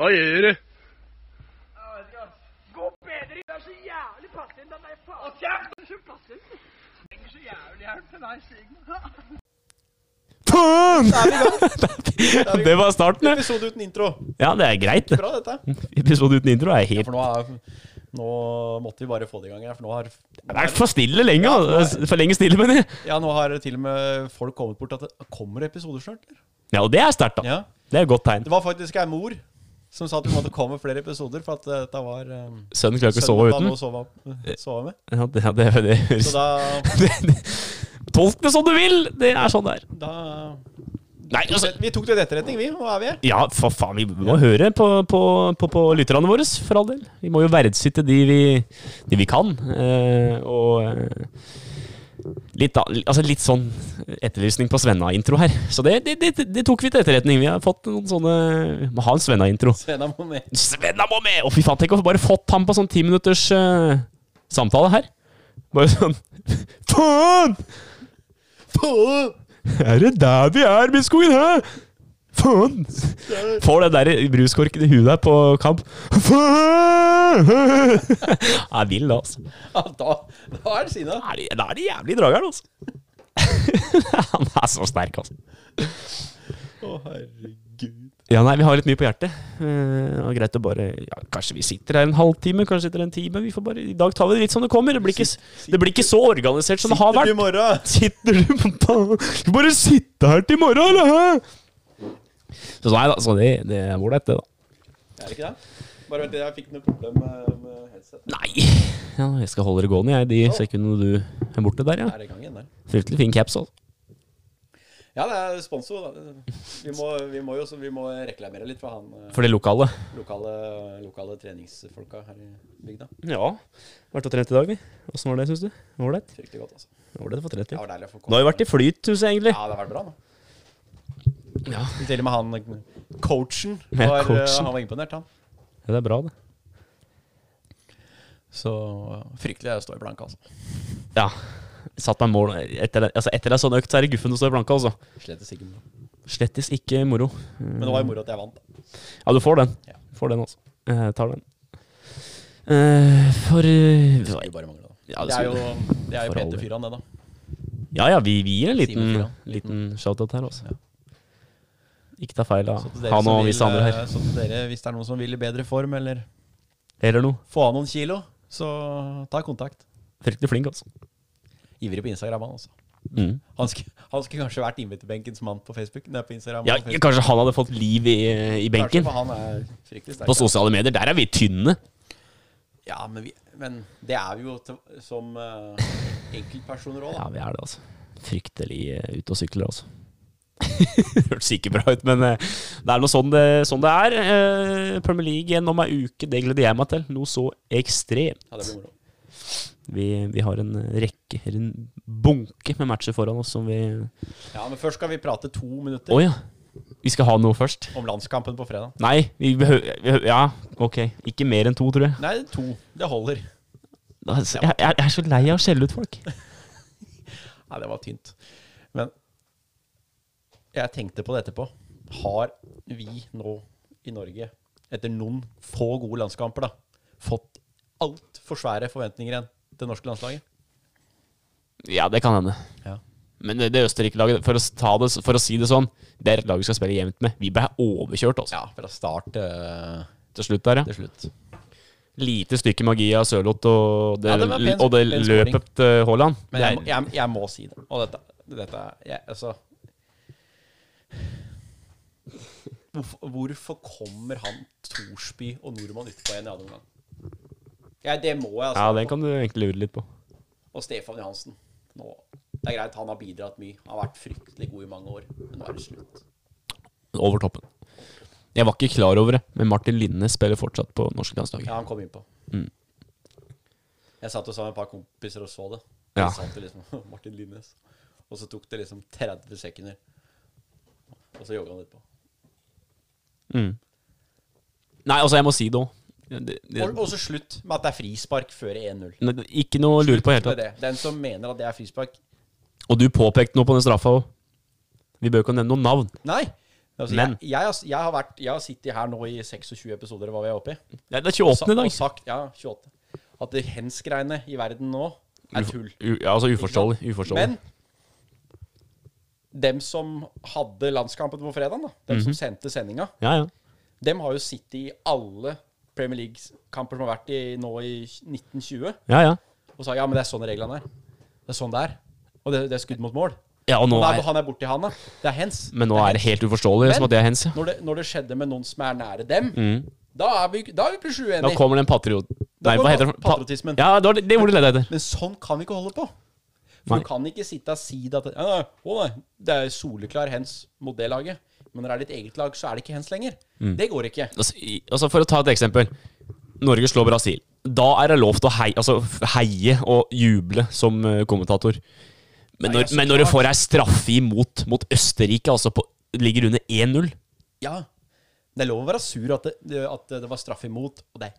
Hva gjør du? Jeg vet ikke, ass. Gå bedre i Det er så jævlig passivt. Den der faen. Hold kjeft! Det er så passivt. Trenger så jævlig hjelp til deg, Sigmund. Faen! Da er vi i gang. Det var starten, det. Episode uten intro. Ja, det er greit. det. Bra, dette. Episode uten intro er Ja, helt for nå, er, nå måtte vi bare få det i gang her, for nå har, Det er for stille lenge. altså. For lenge stille, mener jeg. ja, nå har til og med folk kommet bort at det kommer episoder snart. eller? Ja, og det er sterkt, da. Ja. Det er et godt tegn. Det var faktisk ei mor som sa at det måtte komme flere episoder, for at eh, dette var um, Sønnen klarer ikke å sove uten. Eh. sove, sove med. Ja, det, ja, det, det Så høres da, Tolk det som du vil! Det er sånn det er. da Nei, altså Vi tok det til etterretning, vi. Nå er vi her. Ja, for faen, vi må høre på, på, på, på lytterne våre, for all del. Vi må jo verdsette de vi, de vi kan. Eh, og eh, litt, da, altså litt sånn etterlysning på Svenna-intro her. Så det, det, det, det tok vi til etterretning. Vi har fått noen sånne Må ha en Svenna-intro. Svena må med. Svenna må med! Å, fy faen, tenk å få bare fått ham på sånn ti minutters eh, samtale her. Bare sånn Faen! Faen! Er det der vi er, Biskogen? Hæ? Faen! Får den der bruskorken i huet der på kamp. Faen! Jeg vil det, altså. Ja, da, da er det sinna. Da er de- Da er de jævlig drageren, altså. Han er så sterk, altså. Å, herregud. Ja, nei, vi har litt mye på hjertet. Eh, Det var greit å bare ja, Kanskje vi sitter her en halvtime, kanskje sitter her en time. Vi får bare, I dag tar vi det litt som det kommer. Det blir ikke, s- det blir ikke så organisert som det har Sitter du i vært. morgen? Sitter du på banen? Skal bare sitte her til i morgen, eller? hæ? Så nei da, så det, det er ålreit, det, da. Er det ikke det? Bare vent til jeg fikk noe problem med, med headset. Nei. Ja, jeg skal holde det gående, jeg, de sekundene du er borte der, ja. Er det i gang igjen der? Fryktelig fin caps, altså. Ja, det er sponsor. Da. Vi må, vi må jo også- vi må reklamere litt for han eh, For det lokale. lokale, lokale treningsfolka her i bygda. Ja. Vært og trent i dag, vi. Åssen var det, syns du? Ålreit? Fryktelig godt, altså. Ålreit å få trent Det litt. var deilig å få Nå har vi vært i flythuset, egentlig. Ja, det har vært bra, da. Ja. Til og med han coachen Ja, var, eh, coachen. Han var imponert, han. Det er bra, det. Så eh, fryktelig å stå i blank, altså. Ja. Satt meg mål etter, det- altså etter en sånn økt, så er det guffen å stå i blanke, altså. Slettes ikke med noe. Slettes ikke moro. Men det var jo moro at jeg vant. da. Ja, du får den. Ja. Du Får den, altså. Jeg tar den. Eh, for eh, Det skulle bare mangle, da. Ja, det det, er jo, skulle- det er jo for all del. Peter Fyran, det, da. Ja ja, vi, vi gir en Simen liten, Fyran. liten shout-out her, altså. Ja. Ikke ta feil av Så til dere han som og vil, visse andre her. eh, Så til dere, hvis det er noen som vil i bedre form, eller Eller noe. få av noen kilo, så ta kontakt. Fryktelig flink, altså. Ivrig på Instagram, han, altså. Mm. Han skulle, han skulle kanskje vært invitebenkens mann på Facebook. Nei, på Instagram. Ja, og Facebook. kanskje han hadde fått liv i, i Kanskje, benken. for han er fryktelig sterk. På sosiale medier, der er vi tynne. Ja, men, vi, men det er vi jo til, som eh, enkeltpersoner òg, Ja, da. vi er det, altså. Fryktelig eh, ute og sykler, altså. Hørtes ikke bra ut, men eh, det er nå sånn det, sånn det er. Eh, Premier League igjen om ei uke, det gleder jeg meg til. Noe så ekstremt. Ja, det blir moro. Vi, vi har en rekke, eller en bunke med matcher foran oss som vi Å Ja, men først skal vi prate to minutter ja. Vi skal ha noe først? om landskampen på fredag. Nei, vi behøver Ja, ok. Ikke mer enn to, tror jeg. Nei, to. Det holder. Altså, Jeg, jeg jeg er så lei av å skjelle ut folk. Nei, det var tynt. Men jeg tenkte på det etterpå. Har vi nå i Norge, etter noen få gode landskamper, da, fått altfor svære forventninger igjen til det norske landslaget? Ja, det kan hende. Ja. Men det, det Østerrike-laget, for, å ta det- for å si det sånn, det er et lag vi skal spille jevnt med. Vi ble overkjørt, altså. Ja, fra start eh, Til slutt der, ja. til slutt. Lite stykke magi av Sørloth og det, Ja, det var pen- og det pen scoring. løpet til Haaland. Men jeg, Det må- er- jeg, jeg må si det. Og dette, dette jeg, Altså hvorfor, hvorfor kommer han Thorsby og nordmann utpå igjen i andre omgang? Ja, det må jeg, altså. ja, den kan du egentlig lure litt på. Og Stefan Johansen. Nå, det er greit, han har bidratt mye. Han har vært fryktelig god i mange år. Men nå er det slutt. Over toppen. Jeg var ikke klar over det, men Martin Linnes spiller fortsatt på norsk landslag. Ja, han kom innpå. Mm. Jeg satt og sa med et par kompiser og så det. Ja. Så satt det liksom Martin Linnes. Og så tok det liksom 30 sekunder. Og så jogga han etterpå. Nei, altså, jeg må si det òg. Det, det, Og, og så slutt med at det er frispark før 1-0. det- ikke noe å lure på i det hele Med tatt. det. Den som mener at det er frispark Og du påpekte noe på den straffa òg. Vi bør ikke nevne noen navn. Nei! Altså, Men- jeg, jeg, har- jeg har vært, jeg har sittet her nå i 26 episoder, eller hva vi er oppe i. Det er Og sa- 28. i Og dag. sagt, ja, 28. At det hens-greiene i verden nå er tull. U ja, altså uforståelig. uforståelig. Men dem som hadde landskampen på fredag, da, dem Mhm. som sendte sendinga, ja, ja. dem har jo sittet i alle Premier League-kamper som har vært i, nå i 1920, ja, ja. og sa ja, men det er sånn reglene er. Det er sånn det er. Og det, det er skudd mot mål. ja og nå Nå er, Mm. han er borti han, da. Det er hens. men nå er det helt uforståelig som at det er hens. ja. Når det, når det skjedde med noen som er nære dem, da, er vi, da er vi plutselig Mm. Da uenige. kommer den patriot... Nei, kommer hva heter det? pat- patriotismen. Ja, det, var det, det ordet ledde jeg etter. Men sånn kan vi ikke holde på. For Nei. Du kan ikke sitte og si det at ja, nei, å, nei, det er soleklar hens mot det laget. Men når det er ditt eget lag, så er det ikke hens lenger. Det går ikke. Altså, i- altså For å ta et eksempel. Norge slår Brasil. Da er det lov til å heie, altså, heie og juble som eh, kommentator. Men Nei, når, altså, men når du klart. får ei straffe imot mot Østerrike, altså på, ligger under 1-0 Ja. Det er lov å være sur at det, at det var straff imot, og det er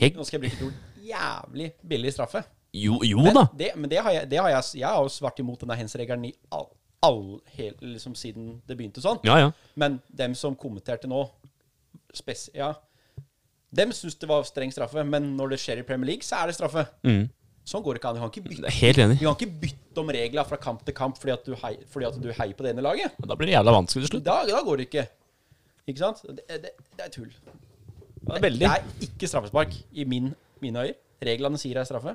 Helt- Nå skal jeg bruke et ord jævlig billig straffe. Jo, jo Men, da. det, men det har jeg, det har jeg, jeg har jo vært imot denne hens-regelen i all, all hel, liksom siden det begynte sånn. Ja, ja. Men dem som kommenterte nå spes Ja, dem syns det var streng straffe, men når det skjer i Premier League, så er det straffe. Sånn går det ikke an. Du kan ikke bytte, Helt enig. du kan ikke bytte om regler fra kamp til kamp fordi at du heier, fordi at du heier på det ene laget. Da blir det jævla vanskelig til slutt. Da, da går det ikke. Ikke sant? Det, det, det er tull. er veldig. Det er ikke straffespark i min, mine øyne. Reglene sier det er straffe.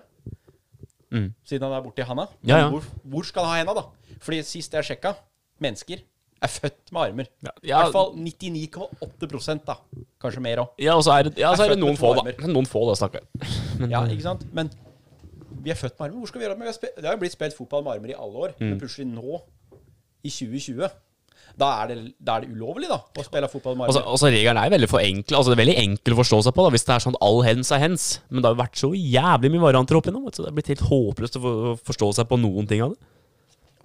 Siden han er borti handa. Mm. Ja, ja. Hvor, hvor skal han ha henda, da? Fordi sist jeg sjekka, mennesker er født med armer. Ja, I ja. hvert fall 99,8 da. Kanskje mer òg. Ja, og så er det, ja, så er det noen få, da. Jeg Noen få, da, stakkar. Mm. Ja, ikke sant? Men vi er født med armer. Hvor skal vi gjøre av det? Vi har spe- Det har jo blitt spilt fotball med armer i alle Mm. år, men plutselig nå, i 2020 da er, det, da er det ulovlig, da, å spille fotball med armer. Altså, altså Regelen er veldig for enkel Altså det er veldig enkel å forstå seg på da hvis det er sånn all hens er hens. Men det har jo vært så jævlig mye varianter opp igjennom. vet du, Så det er blitt helt håpløst å for- forstå seg på noen ting av det.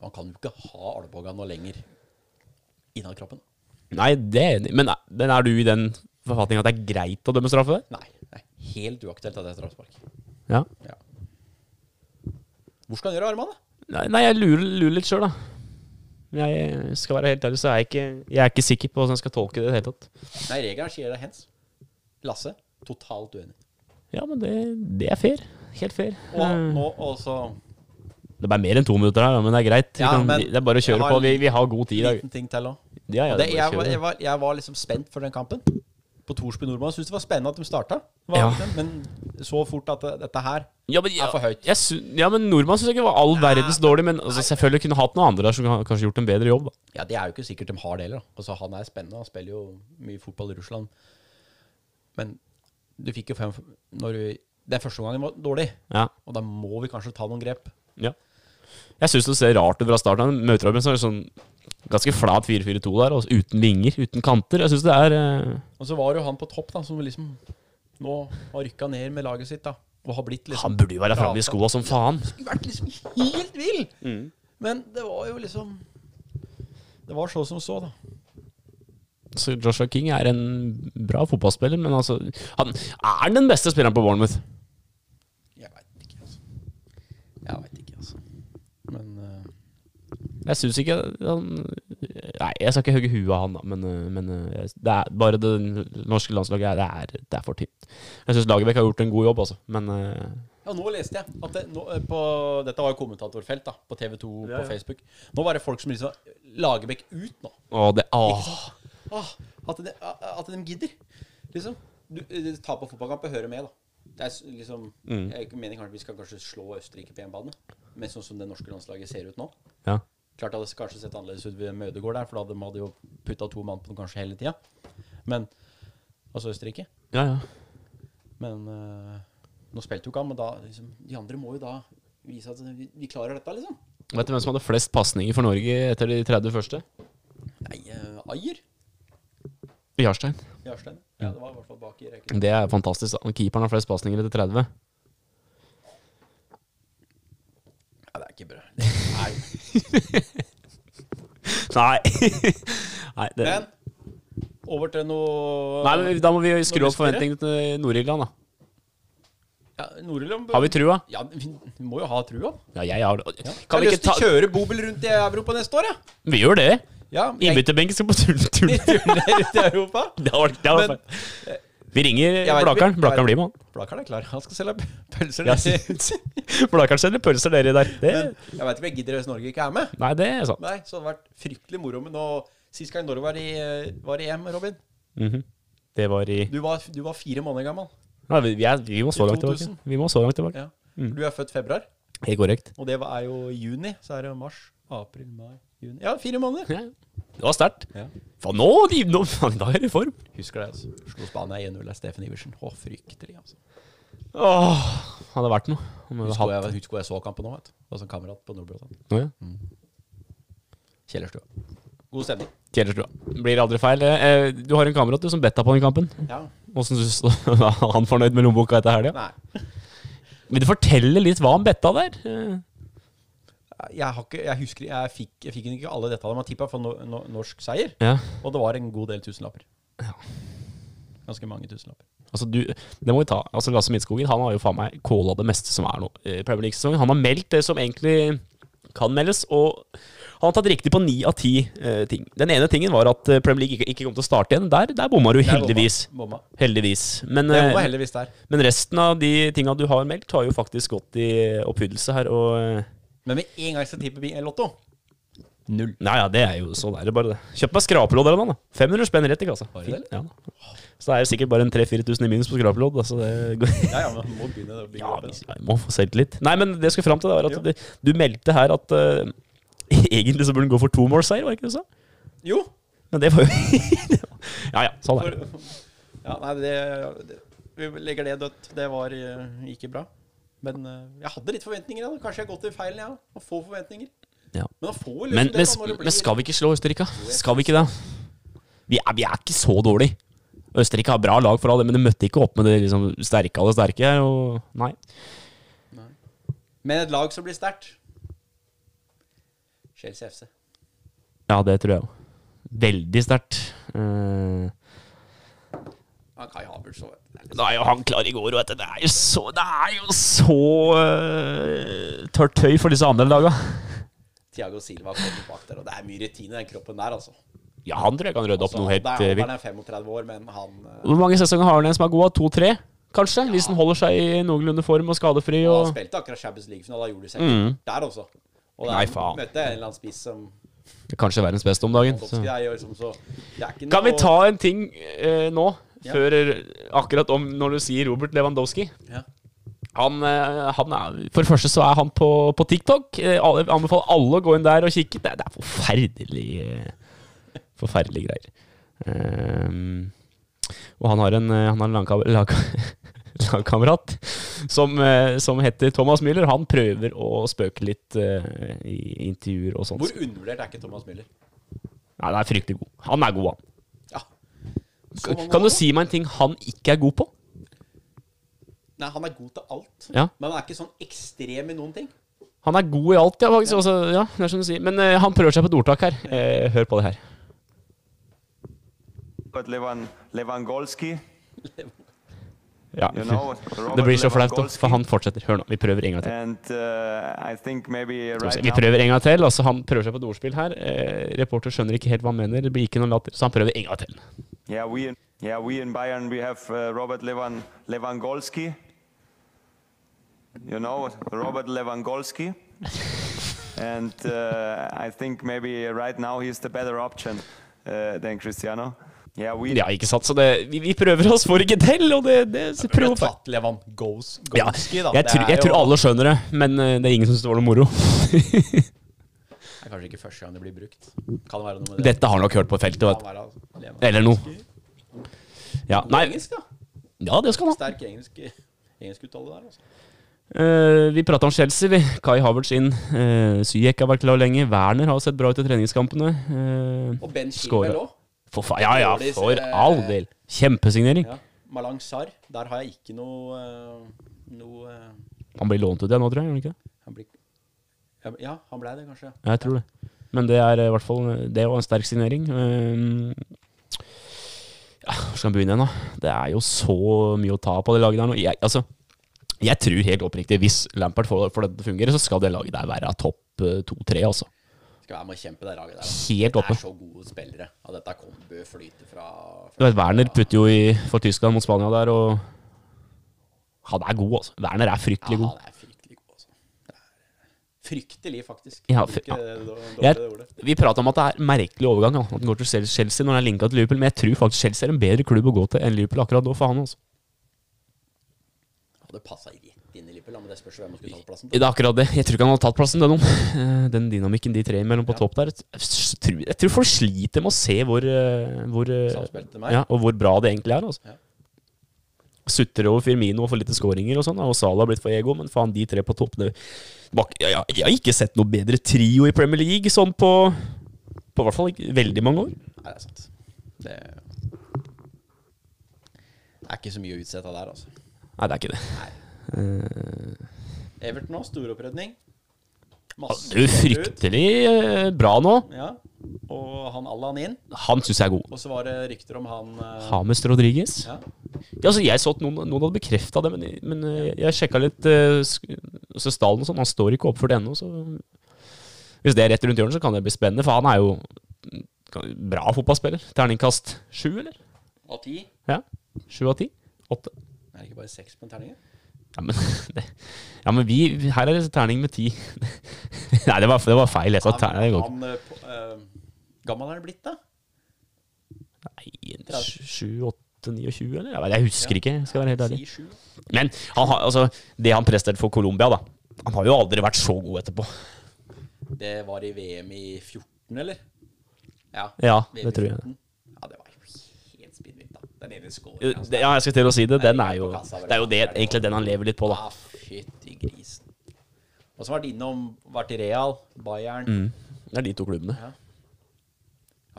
Man kan jo ikke ha albuen noe lenger innan kroppen. Nei, det er jeg enig i. Men er, men er du i den forfatninga at det er greit å dømme straffe der? Nei. nei. Helt uaktuelt at det er straffespark. Ja. Ja. Hvor skal han gjøre av armene? Nei, nei, jeg lurer, lurer litt sjøl, da. Jeg skal være helt ærlig, så er jeg ikke, jeg er ikke sikker på hvordan jeg skal tolke det i det hele tatt. Nei, regelen sier det er hands. Lasse, totalt uenig. Ja, men det, det er fair. Helt fair. Og nå også Det er mer enn to minutter her, da, men det er greit. Vi Ja, kan, men det er bare å jeg kjøre har på. Vi, vi har god tid i dag. liten ting til òg. Ja, ja, Og det, det er jeg, bare å var, kjøre. jeg, var, jeg var liksom spent for den kampen. På Thorsby Nordmann. Syns det var spennende at de starta. Var, Ja. det, Men så fort at det, dette her Ja, men, er for høyt. Jeg, sy- ja, men nordmann syns jeg ikke var all verdens dårlig, men altså, selvfølgelig kunne hatt noen andre der som kan- kanskje gjort en bedre jobb. Da. Ja, det er jo ikke sikkert de har det heller. da. Altså, han er spennende, han spiller jo mye fotball i Russland. Men du fikk jo fem når du, Det er første gangen var dårlig, Ja. og da må vi kanskje ta noen grep. ja. Jeg syns det ser rart ut fra starten. av. Møter Robin, så er det sånn ganske flat 4-4-2 der, og uten vinger, uten kanter. Jeg syns det er eh, Og så var jo han på topp, da, som liksom nå har rykka ned med laget sitt, da. Og har blitt liksom eh, Han burde jo være framme i skoa som faen. Vært liksom helt vill! Men det var jo liksom Det var så som så, da. Så Joshua King er en bra fotballspiller, men altså Han er den beste spilleren på Bournemouth. Jeg veit ikke, altså. Jeg veit ikke, altså. Men eh, Jeg syns ikke han Nei, jeg skal ikke hogge huet av han, da, men, eh, men eh, jeg- det er bare det norske landslaget er, det er, det er for tynt. Jeg syns Lagerbäck har gjort en god jobb, altså, men eh, Ja, nå leste jeg at det, nå, eh, på, Dette var jo kommentatorfelt da på TV 2 på Facebook. Nå var det folk som liksom Lagerbäck ut nå. Å, det åh. Åh, at, de, at de gidder. Liksom. Du, eh, ta på fotballkamp og høre med, da. Det er s- liksom Jeg mener kanskje vi skal kanskje slå Østerrike på hjemmebane, men sånn som det norske landslaget ser ut nå Ja. Klart det hadde kanskje sett annerledes ut ved Mødegård der, for da hadde de hadde jo putta to mann på den kanskje hele tida. Men Altså Østerrike. ja, ja. Men eh, nå spilte jo ikke han, men da liksom, De andre må jo da vise at vi, vi klarer dette, liksom. Vet du hvem som hadde flest pasninger for Norge etter de 30 første? Nei, eh, Ayer Jarstein. Jarstein. Ja, det var i hvert fall bak i rekken. Det er fantastisk. da. Keeperen har flest pasninger etter 30. Ja, det er ikke bra. Nei. Nei. nei, det, Men over til noe nei, men da må vi skru opp Når vi spiller? forventningene til Nord-Irland, da. ja, Nord-Irland Har vi trua? Ja, vi vi må jo ha trua. Ja, jeg har det. Kan Kan vi jeg har ikke lyst til ta å kjøre bobil rundt i Europa neste år, jeg. Vi gjør det. Ja, jeg, Innbytterbenken skal på turn- turn- turner ut i Europa. Det har vært- det har Men- vært Vi ringer Jeg vet- Blakeren. jeg Blakeren vet- blir med, han. Blakeren er klar. Han skal selge pølser. Ja, ned til- Blakeren selger pølser nedi der. Det, Men jeg veit ikke om jeg gidder hvis Norge ikke er med. nei, det er sant. Nei, så det hadde vært fryktelig moro. Men nå, sist gang Norge var i, eh, var i EM, Robin Mhm. Det var i du var, du var fire måneder gammel. Nei, vi, vi er, vi må så langt tilbake. 2000. Vi må så langt tilbake. Ja. Mm. Du er født februar, Helt korrekt. og det er jo juni. Så er det jo mars, april, mai, juni. Ja, fire måneder. Ja. Det var sterkt. Ja. Faen, nå, de, nå faen, da er det form! Husker det, altså. Slo Spania 1-0 av Steffen Iversen. Å, fryktelig, altså. Åh, hadde vært noe. Om vi hadde Husker hatt hvor jeg, husker hvor jeg så kampen nå, vet du. Det var sånn kamerat på Nordbrød. noe. Ja. Kjellerstua. God stemning. Kjellerstua. Blir aldri feil. Eh, eh, Du har en kamerat du som betta på den kampen. Ja. Åssen syns du var han fornøyd med lommeboka etter helga? Nei. Vil du fortelle litt hva han betta der? Eh, Jeg, har ikke, jeg husker jeg fikk, jeg fikk ikke alle detaljene, men jeg tippa for no, no, norsk seier. Ja. Og det var en god del tusenlapper. Ganske mange tusenlapper. Altså, du, det må vi ta. Altså, Lasse Midtskogen han har jo faen meg calla det meste som er nå i Premier League-sesongen. Han har meldt det som egentlig kan meldes, og han har tatt riktig på ni av ti eh, ting. Den ene tingen var at eh, Premier League ikke, ikke kom til å starte igjen. Der, der bomma du Der bomma- heldigvis. Bomma. Heldigvis. Men, Det var eh, heldigvis der. men resten av de tinga du har meldt, har jo faktisk gått i oppfyllelse her, og eh, Men med en gang jeg skal tippe bi- Lotto Null. Nei ja, det er jo sånn er det bare. det. Kjøp meg skrapelodd eller noe, da. 500 spenn rett i kassa. Har du det, Ja, da. så det er sikkert bare en 3000-4000 i minus på skrapelodd. da, Så det går Ja, ja, men man må begynne å bygge Ja, liksom. opp vi en- jeg må få selvtillit. Nei, men det jeg skulle fram til, det var at du, du meldte her at eh, egentlig så burde den gå for to more seier, var det ikke det du sa? Jo! Men det var jo Ja ja, sånn er det. For, ja, nei, det, det Vi legger det dødt. Det var eh, ikke bra. Men eh, jeg hadde litt forventninger. Ja. da. Kanskje jeg har gått i feilen, jeg ja. òg. Få forventninger. Ja. Men å få liksom Men, det men, da, når det blir- men skal vi ikke slå Østerrike? Skal vi ikke det? Vi er, vi er ikke så dårlige. Østerrike har bra lag for all det, men de møtte ikke opp med det liksom, sterke av det sterke. her, Og, nei. Men et lag som blir sterkt Chelsea FC. Ja, det tror jeg òg. Veldig sterkt. Eh, Ja, Kai Havertz og Da er jo han klar i går, vet du. Det er jo så, det er jo så eh, tørt tøy for disse andre laga. Thiago Silva kommer bak der, og det er mye rutine i den kroppen der, altså. Ja, han tror jeg kan rydde opp Så noe han- helt der- eh, Han vilt. Altså, er 35 år, men han eh, Hvor mange sesonger har han igjen som er god? To-tre, kanskje? Hvis han holder seg i noenlunde form og skadefri han og spilte akkurat Champions League-finale, da gjorde seg mm. der også. Og der Nei, faen. møtte jeg en eller annen spiss som Kanskje verdens beste om dagen. Så. Domsky der gjør liksom så Det er ikke Altså. Kan vi noe- ta en ting eh, nå? Ja. Før eh, akkurat om når du sier Robert Lewandowski. ja. Han, eh, han er, for det første så er han på, på TikTok. Eh, alle- Jeg anbefaler alle å gå inn der og kikke. Det, er- det er forferdelig eh, Forferdelige greier. Ehm, og han har en, eh, han har en langkam- lag, lagkamerat som, eh, som heter Thomas Müller. Han prøver å spøke litt eh, i intervjuer og sånt. Hvor undervurdert er ikke Thomas Müller? Nei, han er fryktelig god. Han er god, han. Ja. Så Kan, mange kan du år. si meg en ting han ikke er god på? Nei, han er god til alt. Ja. Men han er ikke sånn ekstrem i noen ting. Han er god i alt, ja. faktisk. Altså, ja det er som du sier. Men eh, han prøver seg på et ordtak her. Eh, hør på det her. But Levan, Lewandowski, Ja. you know, Robert Det blir så flaut, da, Lewandowski. for han fortsetter. Hør nå, vi prøver en gang til. And uh, I think maybe right Vi now prøver en gang til, altså Han prøver seg på et ordspill her. Eh, reporter skjønner ikke helt hva han mener. Det blir ikke noen latter, så han prøver en gang til. Yeah, we in, yeah, we in Bayern we have uh, Robert Levan, Lewandowski. You know, Robert Lewandowski. and uh, I think maybe right now he's the better option uh, than Cristiano. Yeah, we Ja, ikke sant? Så det, vi, vi prøver oss, får ikke til, og det, det så prøver vi. Tatt Levan Goes Ja, Golski, da. jeg, Det tror, er jeg jo- tror alle skjønner det, men eh, det er ingen som syns det var noe moro. Det er kanskje ikke første gang det blir brukt. Kan det være noe med det? Dette har han nok hørt på feltet, Kan vet du. være, altså, Levan. Eller noe. Ja, nei, Engelsk, da. ja, det skal han ha. Sterk engelsk engelskuttale der. Altså. Eh, vi prata om Chelsea, vi. Kai Havertz inn. Uh, Syek har vært klar lenge. Werner har sett bra ut i treningskampene. Eh, Og Ben Skåra. Chilwell òg. for fa ja, ja, for all del. Kjempesignering. eh, Ja. Malang Sarr. Der har jeg ikke noe eh, Noe eh, Han blir lånt ut igjen nå, tror jeg. gjør han Ikke? det? han blir, ja, Ja, han blei det, kanskje. Ja, Jeg tror det. Men det er eh, i hvert fall Det var en sterk signering. Eh, ja, hvor skal han begynne nå? Det er jo så mye å ta på det laget der nå. Jeg, altså, jeg tror helt oppriktig, hvis Lampert får, får dette til å fungere, så skal det laget der være topp eh, to-tre, altså. Skal være med å kjempe det laget der. altså. Helt Det åpen. er så gode spillere. Ja, dette kom, bør flyte fra, Du vet, Werner putter jo i, for Tyskland mot Spania der, og Han er god, altså. Werner er Ja, fryktelig god. det er fryktelig god, altså. Det er fryktelig, faktisk. Ja, Ikke fy- ja. det dårlige Jeg, ordet. vi prata om at det er merkelig overgang, ja, at han går til Chel- Chelsea når han er linka til Liverpool, men jeg tror faktisk Chelsea er en bedre klubb å gå til enn Liverpool akkurat nå, for han altså. Hadde passa rett inn i Liverpool, da, men det spørs jo hvem som skulle tatt plassen. Det er akkurat det. Jeg tror ikke han hadde tatt plassen, den om. Eh, Den dynamikken de tre imellom på topp der. Jeg tror, jeg tror folk sliter med å se hvor, eh, hvor eh, Samspill til meg. Ja, og hvor bra det egentlig er. Altså. Ja. Sutrer over Firmino og får lite skåringer og sånn, og Salah har blitt for ego, men faen, de tre på topp det, bak, ja, ja, Jeg har ikke sett noe bedre trio i Premier League sånn på På hvert fall ikke veldig mange år. Nei, det er sant. Det det er ikke så mye å utsette der, altså. Nei, det er ikke det. Everton nå, storoppredning. Altså, Du er fryktelig eh, bra nå. Ja. Og han Allan inn. Han syns jeg er god. Og så var det rykter om han eh, Hames Rodriguez. ja. Ja, altså jeg så at noen, noen hadde bekrefta det, men, men eh, jeg sjekka litt eh, sk- så stallen og sånn. Han står ikke oppført ennå, så hvis det er rett rundt hjørnet, så kan det bli spennende. For han er jo kan- bra fotballspiller. Terningkast sju, eller? Av ti? Ja. Sju av ti? Åtte? Er det ikke bare seks på en terning? Ja, men, det, ja, men vi Her er det terning med ti. Nei, det var, det var feil. Jeg sa terning. det går ikke. han, eh, på- eh, gammel er han blitt, da? Nei, sju, åtte, ni og tjue, eller? Jeg vet- Jeg husker ikke, skal jeg være helt ærlig. Si sju. Men han har, altså, det han presterte for Colombia, da Han har jo aldri vært så god etterpå. Det var i VM i 14, eller? Ja, Ja, VM det i tror jeg. 14. Ja, det var jo helt spinnvidt, da. Den ene scoren. altså. Ja, jeg skal til å si det. Den er jo Det er jo det, egentlig den han lever litt på, da. Ja, Ah, fytti grisen. Og så har vært innom vært i Real, Bayern. Mm. Det er de to klubbene. Har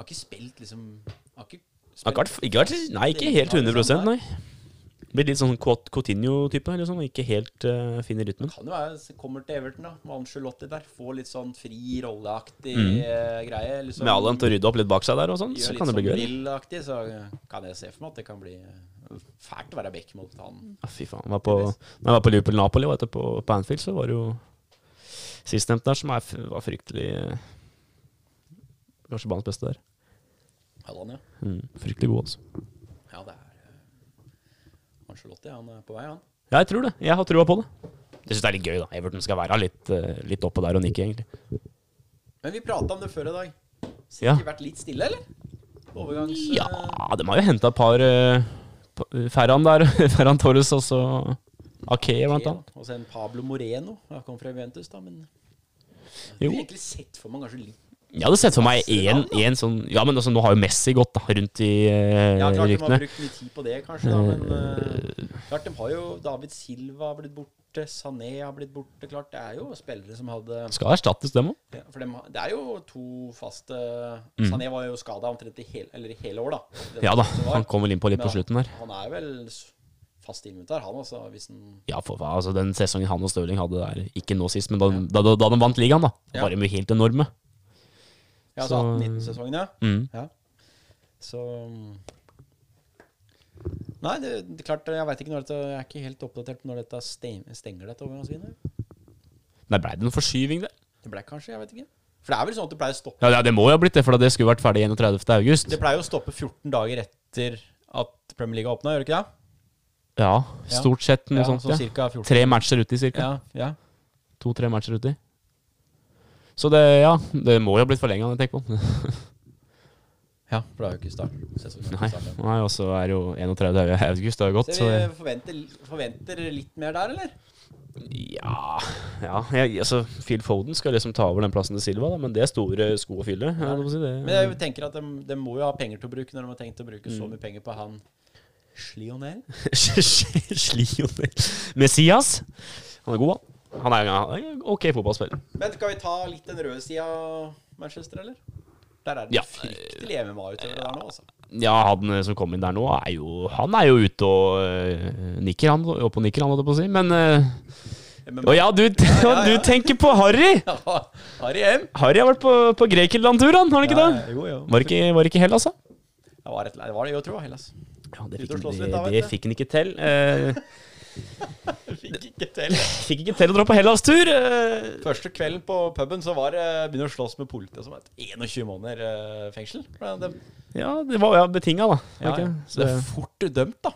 ikke spilt liksom Har ikke spilt Har ikke vært, ikke vært Nei, ikke helt 100 nei. Blir litt sånn Cot- Coutinho-type. eller sånn, Ikke helt eh, finner rytmen. Kan jo være så kommer til Everton, da. Med Angelotti der. Får litt sånn fri rolleaktig Mm. eh, greie. Liksom, Med Allan til å rydde opp litt bak seg der og sånn, Gjør så litt kan det bli sånn gøy. Brill-aktig, så kan jeg se for meg at det kan bli eh, fælt å være back mot han. Ja, Ah, fy faen. Jeg var på, når jeg var på Liverpool-Napoli og etterpå på Anfield, så var det jo sistnevnte der som er, f- var fryktelig eh, Kanskje banens beste der. Allan, ja. Mm, fryktelig god, altså. Ja, det er eh, Ancelotti. Han er på vei, han. Ja, jeg tror det. Jeg har trua på det. Jeg syns det er litt gøy, da. Everton skal være litt, eh, litt oppå der og nikke, egentlig. Men vi prata om det før i dag. Ja. Sikkert vært litt stille, eller? Overgangs... eh, Ja, de har jo henta et par eh, pa- Ferran der. Ferran Torres og så Akee, blant annet. Og så en Pablo Moreno. Han kom fra Juventus, da, men Jeg Jo. har egentlig sett for meg kanskje litt Jeg hadde sett for meg Ferran, da. én sånn Ja, men altså, nå har jo Messi gått da, rundt i eh, Ja, klart de har ryktene. brukt mye tid på det, kanskje, da, men eh, Klart, de har jo David Silva har blitt borte, Sané har blitt borte, klart. Det er jo spillere som hadde Skal erstattes, dem òg. ja, For dem, har- det er jo to faste Sané var jo skada omtrent i hele, eller i hele år, da. Det Mm. Ja da, var- han kom vel inn på litt på Men slutten der. Han er vel s- fast inventar, han, altså, hvis han Ja, for faen, altså Den sesongen han og Stirling hadde der, ikke nå sist, men da, da, da, da de vant ligaen, da, Ja. var de jo helt enorme. Ja, Så- altså 18-19-sesongen, ja. Mm. ja. Så Nei, det, det er klart, jeg veit ikke når dette Jeg er ikke helt oppdatert på når dette sten- stenger dette overgangsvinduet. Nei, blei det noen forskyving der? Det ble kanskje, jeg vet ikke. For det er vel sånn at det pleier å stoppe Ja, ja, det må jo ha blitt det, for det skulle vært ferdig 31. august. Det pleier å stoppe 14 dager etter at Premier League åpna, gjør det ikke det? Ja, stort sett noe Ja, sånt. så Ja. cirka 14. Tre matcher uti, cirka. Ja, ja. To-tre matcher uti. Så det, ja, det må jo ha blitt forlenga, tenk på. ja for det er jo ikke start. sesongen har Nei, ikke startet. Nei og så er det jo 31. august, det har jo gått, Så eh, så vi det- forventer, forventer litt mer der, eller? Ja, ja jeg, altså, Phil Foden skal liksom ta over den plassen til Silva, da, men det er store sko å fylle. Ja. Si det. Men jeg tenker at de, de må jo ha penger til å bruke når de har tenkt å bruke Mm. så mye penger på han Slionel. Slionel Messias. Han er god, han. Han er han er en ok fotballspiller. Men skal vi ta litt den røde sida av Manchester, eller? Der er det Ja. fryktelig MMA-utøvere der nå, altså. Ja, han eh, som kom inn der nå, er jo Han er jo ute og eh, nikker, han. Opp og nikker, han, holdt jeg på å si. Men eh, Å MMA. ja, du, ja, ja. du tenker på Harry! Harry M. Harry har vært på, på Grekenland-tur, han, har han ikke det? Jo, jo. Var det ikke, var det ikke Hellas, da? Det var, et, det var det jo, tror jeg, Hellas. Ja, det Ut og fikk, slåss han, litt, da, det, det vet du. fikk han ikke til. Eh, Fikk ikke til. Fikk ikke til å dra på Hellas-tur. eh, Første kvelden på puben så var det begynne å slåss med politiet som het 21 måneder eh, fengsel. For Det, Ja, det var ja, betinga, da. ja, Ok, ja. Så, det er fort dømt, da.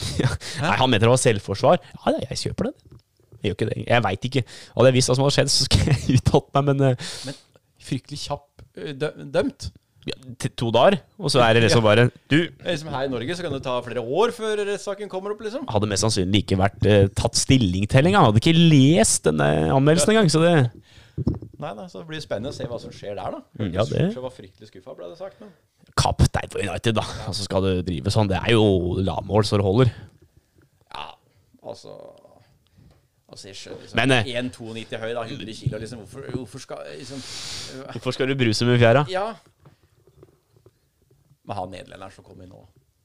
nei, han mente det var selvforsvar. Ja, ja, jeg kjøper den. Jeg gjør ikke det. Jeg veit ikke. Hadde jeg visst hva som hadde skjedd, så skulle jeg uttalt meg, men eh, Men fryktelig kjapp eh, dø dømt. ja, til to dager, og så er det liksom bare Du Eh, Liksom her i Norge så kan det ta flere år før rettssaken kommer opp, liksom. hadde mest sannsynlig ikke vært eh, tatt stilling til engang. Hadde ikke lest denne anmeldelsen engang, så det Nei, nei, så det blir spennende å se hva som skjer der, da. Mm, ja, det- var fryktelig skuffa, ble det sagt. Men Kaptein for United, da. Altså, skal du drive sånn? Det er jo lavmål så det holder. ja, altså Altså, jeg skjønner liksom Men, eh, 1,92 høy, da, 100 kilo, liksom. Hvorfor, hvorfor skal liksom øh, Hvorfor skal du bruse med fjæra? Ja. Men han nederlenderen som kom inn nå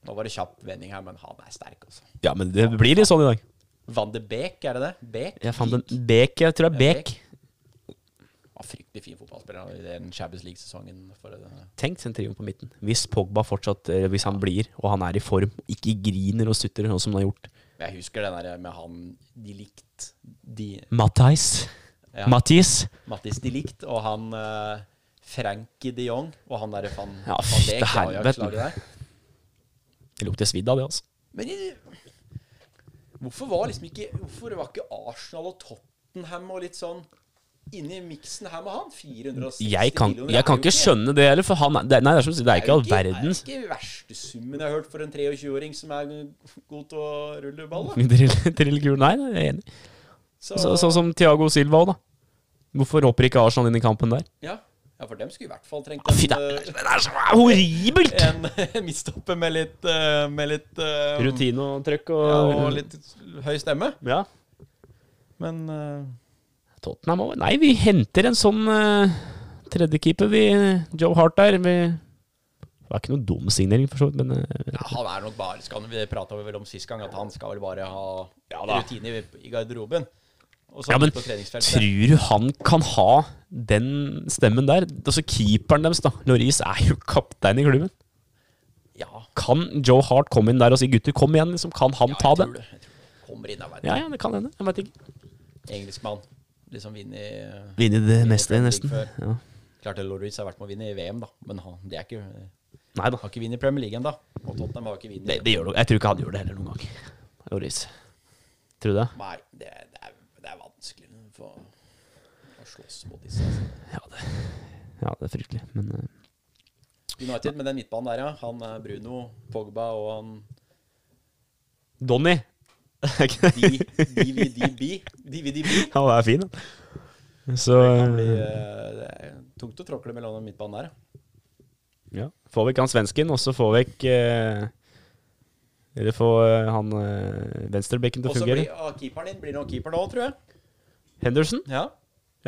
Nå var det kjapp vending her, men han er sterk, altså. Ja, men det blir litt sånn i dag. Van de Beek, er det det? Beek? Jeg fant en Bek, jeg tror det er Bek. Var fryktelig fin fotballspiller i den Champions League-sesongen. for det- Tenk sin trio på midten. Hvis Pogba fortsatt, eller hvis han blir, og han er i form, ikke griner og sutrer sånn som han har gjort. Jeg husker den der med han de likt de, Matthijs. Ja. Mathis. Mattis de Licht og han eh, Frankie de Jong og han derre van, Ja, van fy Dijk, til det Ajax-laget der. Det lukter svidd av det, altså. Men jeg- hvorfor var liksom ikke Hvorfor var ikke Arsenal og Tottenham og litt sånn inni miksen her med han? 460 Jeg kan, millioner, det jeg er kan jo ikke skjønne det heller, for han er, det, nei, det er, som, du sier, det er ikke all det er verdens ikke verste summen jeg har hørt for en 23-åring som er god til å rulle ball. Da. Drill- Drillkul, nei, nei, jeg er enig. Så, Så- Sånn som Thiago Silva òg, da. Hvorfor hopper ikke Arsenal inn i kampen der? ja. ja, for dem skulle i hvert fall trengt Fy, det en, er, eh, det er så horribelt! en, midtstopper med litt, eh, med litt eh, Rutine og trøkk og, Ja, og litt høy stemme. Ja. Men eh, Tottenham òg. Nei, vi henter en sånn uh, tredjekeeper, vi. Joe Hart der. Vi det var ikke noen dum signering, for så vidt, men eh, ja, han er nok bare skal, Vi prata vel om sist gang at han skal vel bare ha rutine i, i garderoben. Og så Ja, men på treningsfeltet. tror du han kan ha den stemmen der? Altså Keeperen deres, da. Loris er jo kaptein i klubben. Ja, Kan Joe Hart komme inn der og si 'gutter, kom igjen'? liksom? Kan han ja, ta det? jeg tror det. Jeg tror det. Kommer inn, jeg vet Ja, ja, det kan hende. Jeg veit ikke. Engelskmann. Liksom vinner Vinne det meste, meste, Premier League nesten. nesten. før. Klart det Lorentz har vært med å vinne i VM, da. Men han det er ikke, har Nei da. ikke vunnet Premier League ennå. Og Tottenham har ikke Det, vunnet. det gjør noe. Jeg tror ikke han gjør det heller noen gang. Loris. Tror du det? Nei, det, det, er, det er vanskelig for å slåss mot disse. Altså. Ja, det, ja, det er fryktelig. Men eh, United med den midtbanen der, ja. Han er Bruno, Pogba og han Donny! Er ikke det? DVDB. DVDB. Han er fin, han. Så eh, eh, Det er tungt å tråkle mellom den midtbanen der. ja. får vekk han svensken, og så får vekk eh, Eller får eh, han eh, venstrebekken til Og å så fungere. blir ah, keeperen din blir nå keeper nå, tror jeg. Henderson? Ja.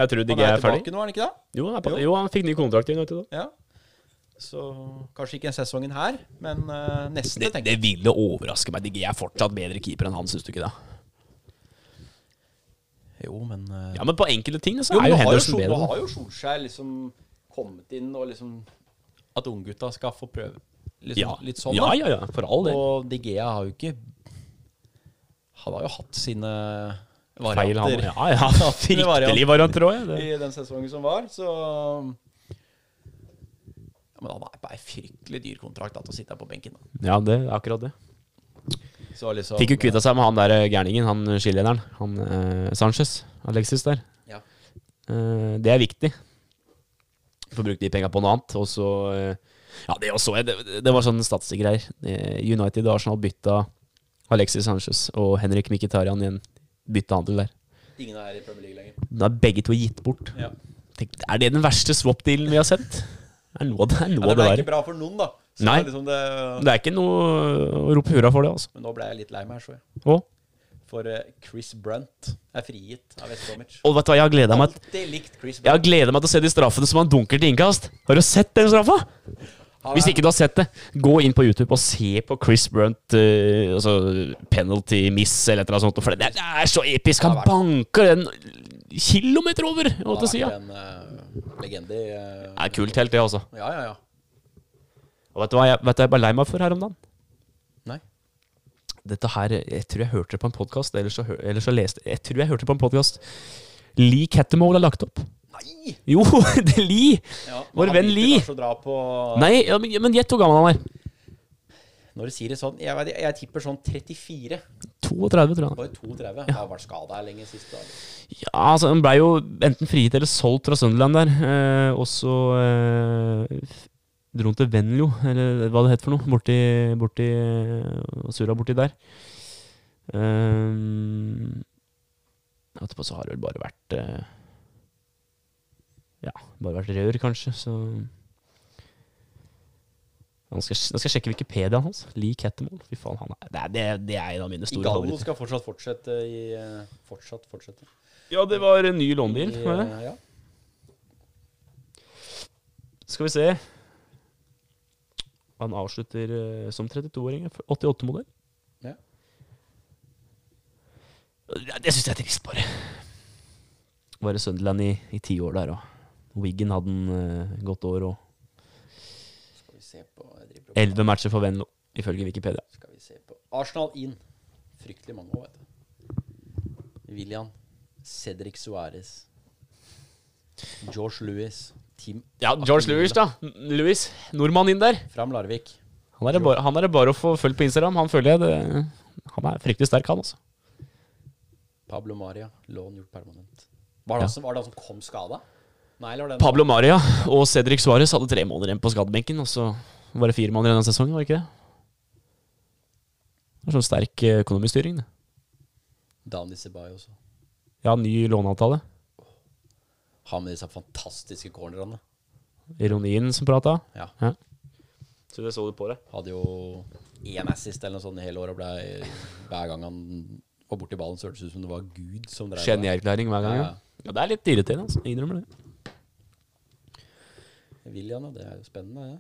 Jeg tror Han DG er er tilbake ferdig. nå, er han ikke det? Jo, han er på, jo, han fikk ny kontrakt i United òg. Ja. Så kanskje ikke den sesongen her, men eh, neste, Det, tenker det jeg. ville overraske meg. DG er fortsatt bedre keeper enn han, syns du ikke det? Jo, men eh, Ja, men på enkelte ting så jo, men er nå jo har jo Henderson Sol- Nå bedre. har jo Solskjær liksom kommet inn og liksom At unggutta skal få prøve. Liksom, Ja. Litt sånn, ja, da. ja, ja. For all del. Og De Gea har jo ikke Han har jo hatt sine Feil han. varianter Ja, ja. Fryktelig varianter òg, ja. Det- i den sesongen som var, så ja, Men han er på ei fryktelig dyr kontrakt da, til å sitte her på benken. Da. Ja, det er akkurat det. Så liksom Fikk jo kvitta seg med han der eh, gærningen, han skilederen. Han eh, Sanchez. Alexis der. Ja. Eh, det er viktig. Får brukt de penga på noe annet. Og så eh, Ja, det også jeg. Det, det var sånn statsgreier. Eh, United og Arsenal bytta Alexis Sanchez og Henrik Mkhitaryan i en byttehandel der. Ingen er i Premier League lenger. Da er begge to gitt bort. Ja. Tenk, er det den verste swap-dealen vi har sett? Det er noe av det, er noe det av ble det ikke verre. bra for noen, da. Så Nei. Liksom det, Det er ikke noe å rope hurra for det, altså. men nå ble jeg litt lei meg, så jeg. Og, For eh, Chris Brunt er frigitt av West Bromwich. og vet du hva, jeg har gleda meg Alltid likt Chris Jeg har Brunt. gleda meg til å se de straffene som han dunker til innkast. Har du sett den straffa? Han Hvis er- ikke du har sett det, gå inn på YouTube og se på Chris Brunt eh, altså penalty miss eller et eller annet sånt. For det, det er så episk! Han Ja, det er banker den kilometer over og Han til har sida. vært en eh, legende i eh, Det er kult helt, det, altså. Ja, ja, ja. Og vet du hva jeg, vet du hva jeg ble lei meg for her om dagen? Nei. dette her Jeg tror jeg hørte det på en podkast, eller, så hø- eller så leste Jeg tror jeg hørte det på en podkast. Lee Cattermole har lagt opp. Nei! Jo, det er Lee! Ja, Vår han venn liker altså. Lee. kanskje å dra på Nei, ja, men- men gjett hvor gammel han er. Når du sier det sånn Jeg, vet, jeg tipper sånn 34. 32, tror jeg. han er. Bare 32. Han har vært skada her lenge sist. Da. Ja, altså, han blei jo enten frigitt eller solgt fra Sunderland der. Eh, og så eh, dro han til Venlo, eller hva det het for noe, borti, borti eh, Sura borti der. Um, etterpå så har det vel bare vært eh, Ja, bare vært rør, kanskje, så Nå skal, jeg- nå skal jeg sjekke Wikipedia hans. Lee Kettermold. Fy faen, han er, det, er, det, er, det er en av mine store Igalo favoritter. skal fortsatt fortsette i eh, Fortsatt fortsette. Ja, det var en ny I, lånebil. var det? eh, ja. Skal vi se Han avslutter eh, som 32-åring. 88-modell. Ja. Ja, Det syns jeg er trist, bare. Var i Sunderland i, i ti år der, og Wiggen hadde en eh, godt år, og Skal vi se på jeg driver og- elleve matcher for Venlo, ifølge Wikipedia. Skal vi se på Arsenal inn. Fryktelig mange òg, vet du. William. Cedric Suárez. George Lewis. Team Ja, George Lewis, da. Lewis. Nordmann inn der. Fram Larvik. Han er det bare, han er det bare å få følge på Instagram. Han føler jeg det Han er fryktelig sterk, han, altså. Pablo Maria. Lån gjort permanent. Var det, han, som, var det han som kom skada? Nei, eller var det Pablo Maria og Cedric Suárez hadde tre måneder igjen på skadebenken, og så var det fire måneder igjen av sesongen, var det ikke det? Det er sånn sterk eh, økonomistyring, det. Dani Ceballos også? Ja, ny låneavtale. Han med disse fantastiske cornerne. Ironien som prata. Ja. Ja. Så det så du på det? Hadde jo én assist eller noe sånt i hele året. og Ble, hver gang han var borti ballen, så hørtes det ut som det var Gud som drev det. Genierklæring hver gang, ja. Ja, ja. Det er litt irriterende, altså. Jeg innrømmer det. William, ja. Det er jo spennende, det.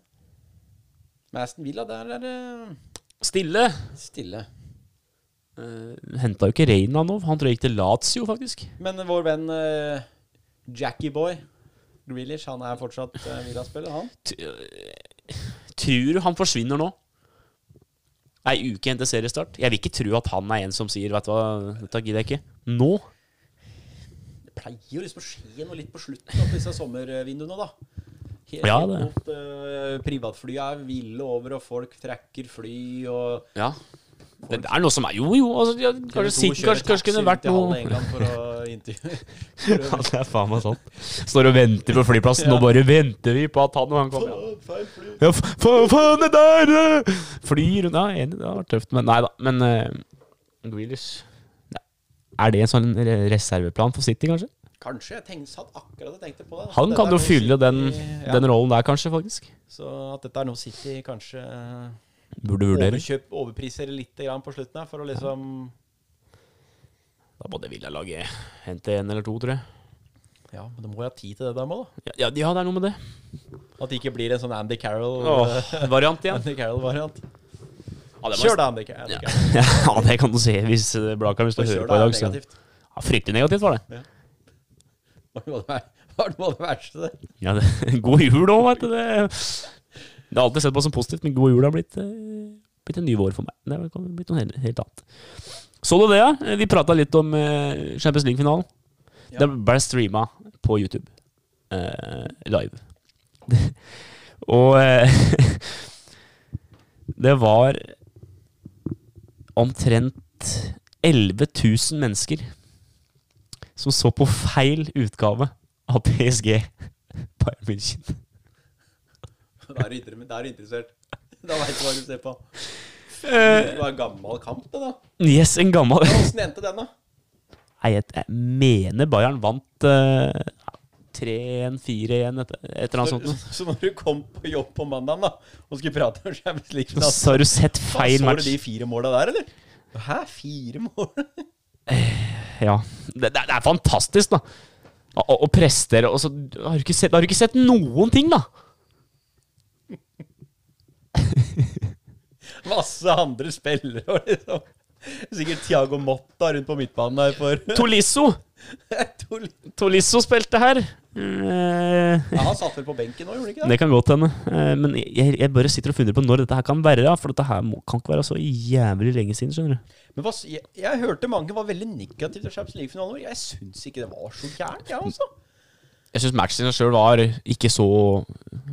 Men Aston Villa, der er det Stille. stille. Uh, Henta jo ikke Reinanov. Han tror jeg gikk til Lazio, faktisk. Men vår venn eh, Jackie Boy Grealish, han er fortsatt eh, Villa-spiller, han. eh, Tror du han forsvinner nå? Ei uke igjen til seriestart. Jeg vil ikke tro at han er en som sier 'vet du hva, dette gidder jeg ikke'. Nå? Det pleier jo liksom å skje noe litt på slutten av disse sommervinduene, da. Helt Ja, opp det. mot eh, privatflya er ville over, og folk trekker fly og Ja. Det er noe som er Jo, jo. Altså, ja, kanskje TV 2 sikkert, kjører kanskje, kanskje kunne det taxi vært til halve noe England for å intervjue. Ja, det er faen meg sant. Står og venter på flyplassen, og bare venter vi på at han og han kommer. Ja. Feil fly. Ja, fa- fa- faen, det der! eh, Flyr unna. Enig, det har vært tøft, men nei da. Men eh, Grealish ja. Er det en sånn re- reserveplan for City, kanskje? Kanskje. Jeg tenkte, satt akkurat og tenkte på det. Han Dette kan er jo noe fylle den, City- ja. den rollen der, kanskje, faktisk. Så at dette er noe City kanskje eh, Burde vurdere. overkjøp, overpriser litt grann på slutten her, for å liksom Da måtte Villa-laget hente en eller to, tror jeg. Ja, men da må jeg ha tid til det der, må da. Ja, ja, ja, det er noe med det. At det ikke blir en sånn Andy Carroll Åh, variant igjen. Andy Carroll-variant. Ja, det var- Kjør da, Andy Car- Andy Carroll. ja, det kan du se hvis eh, Blakkaren hvis du Og hører kjør på i da, dag. Så. negativt. Ja, fryktelig negativt var det. Det var det ver- var noe av det verste. det. Ja, det god jul òg, vet du. Det, det har alltid sett på som positivt, men god jul har blitt, eh, blitt en ny vår for meg. Det har blitt noe helt, helt annet. Så du det, ja? Vi prata litt om eh, Champions League-finalen. Ja. Den ble streama på YouTube eh, live. Og eh, det var omtrent 11 000 mennesker som så på feil utgave av PSG Bayern München. Da er du inter- da er du interessert. Da veit du hva du ser på. Eh, Det var en gammel kamp, det, da. yes, en gammel Åssen endte den, da? Nei, jeg, jeg mener Bayern vant eh, 3-1, 4-1, et, et eller annet sånt. noe. Så når du kom på jobb på mandagen da og skulle prate om Champions League da, Så har du sett feil Så du match. de fire måla der, eller? Hæ, fire mål? Ja. Det, det, er- det er fantastisk, da. Å, å- å prestere og så har du, ikke sett, har du ikke sett noen ting, da? Masse andre spillere og liksom. Sikkert Thiago Motta rundt på midtbanen der for Tolisso! Tull. Tolisso spilte her. Eh, Ja, han satt vel på benken nå, gjorde han ikke det? Det kan godt hende. Eh, Men jeg, jeg bare sitter og funderer på når dette her kan være. ja, For dette her må, kan ikke være så jævlig lenge siden. skjønner du Men hva, s- jeg, jeg hørte mange var veldig negative til Champions League-finalen vår. Jeg syns ikke det var så gærent, jeg, altså. Jeg syns matchen sjøl var ikke så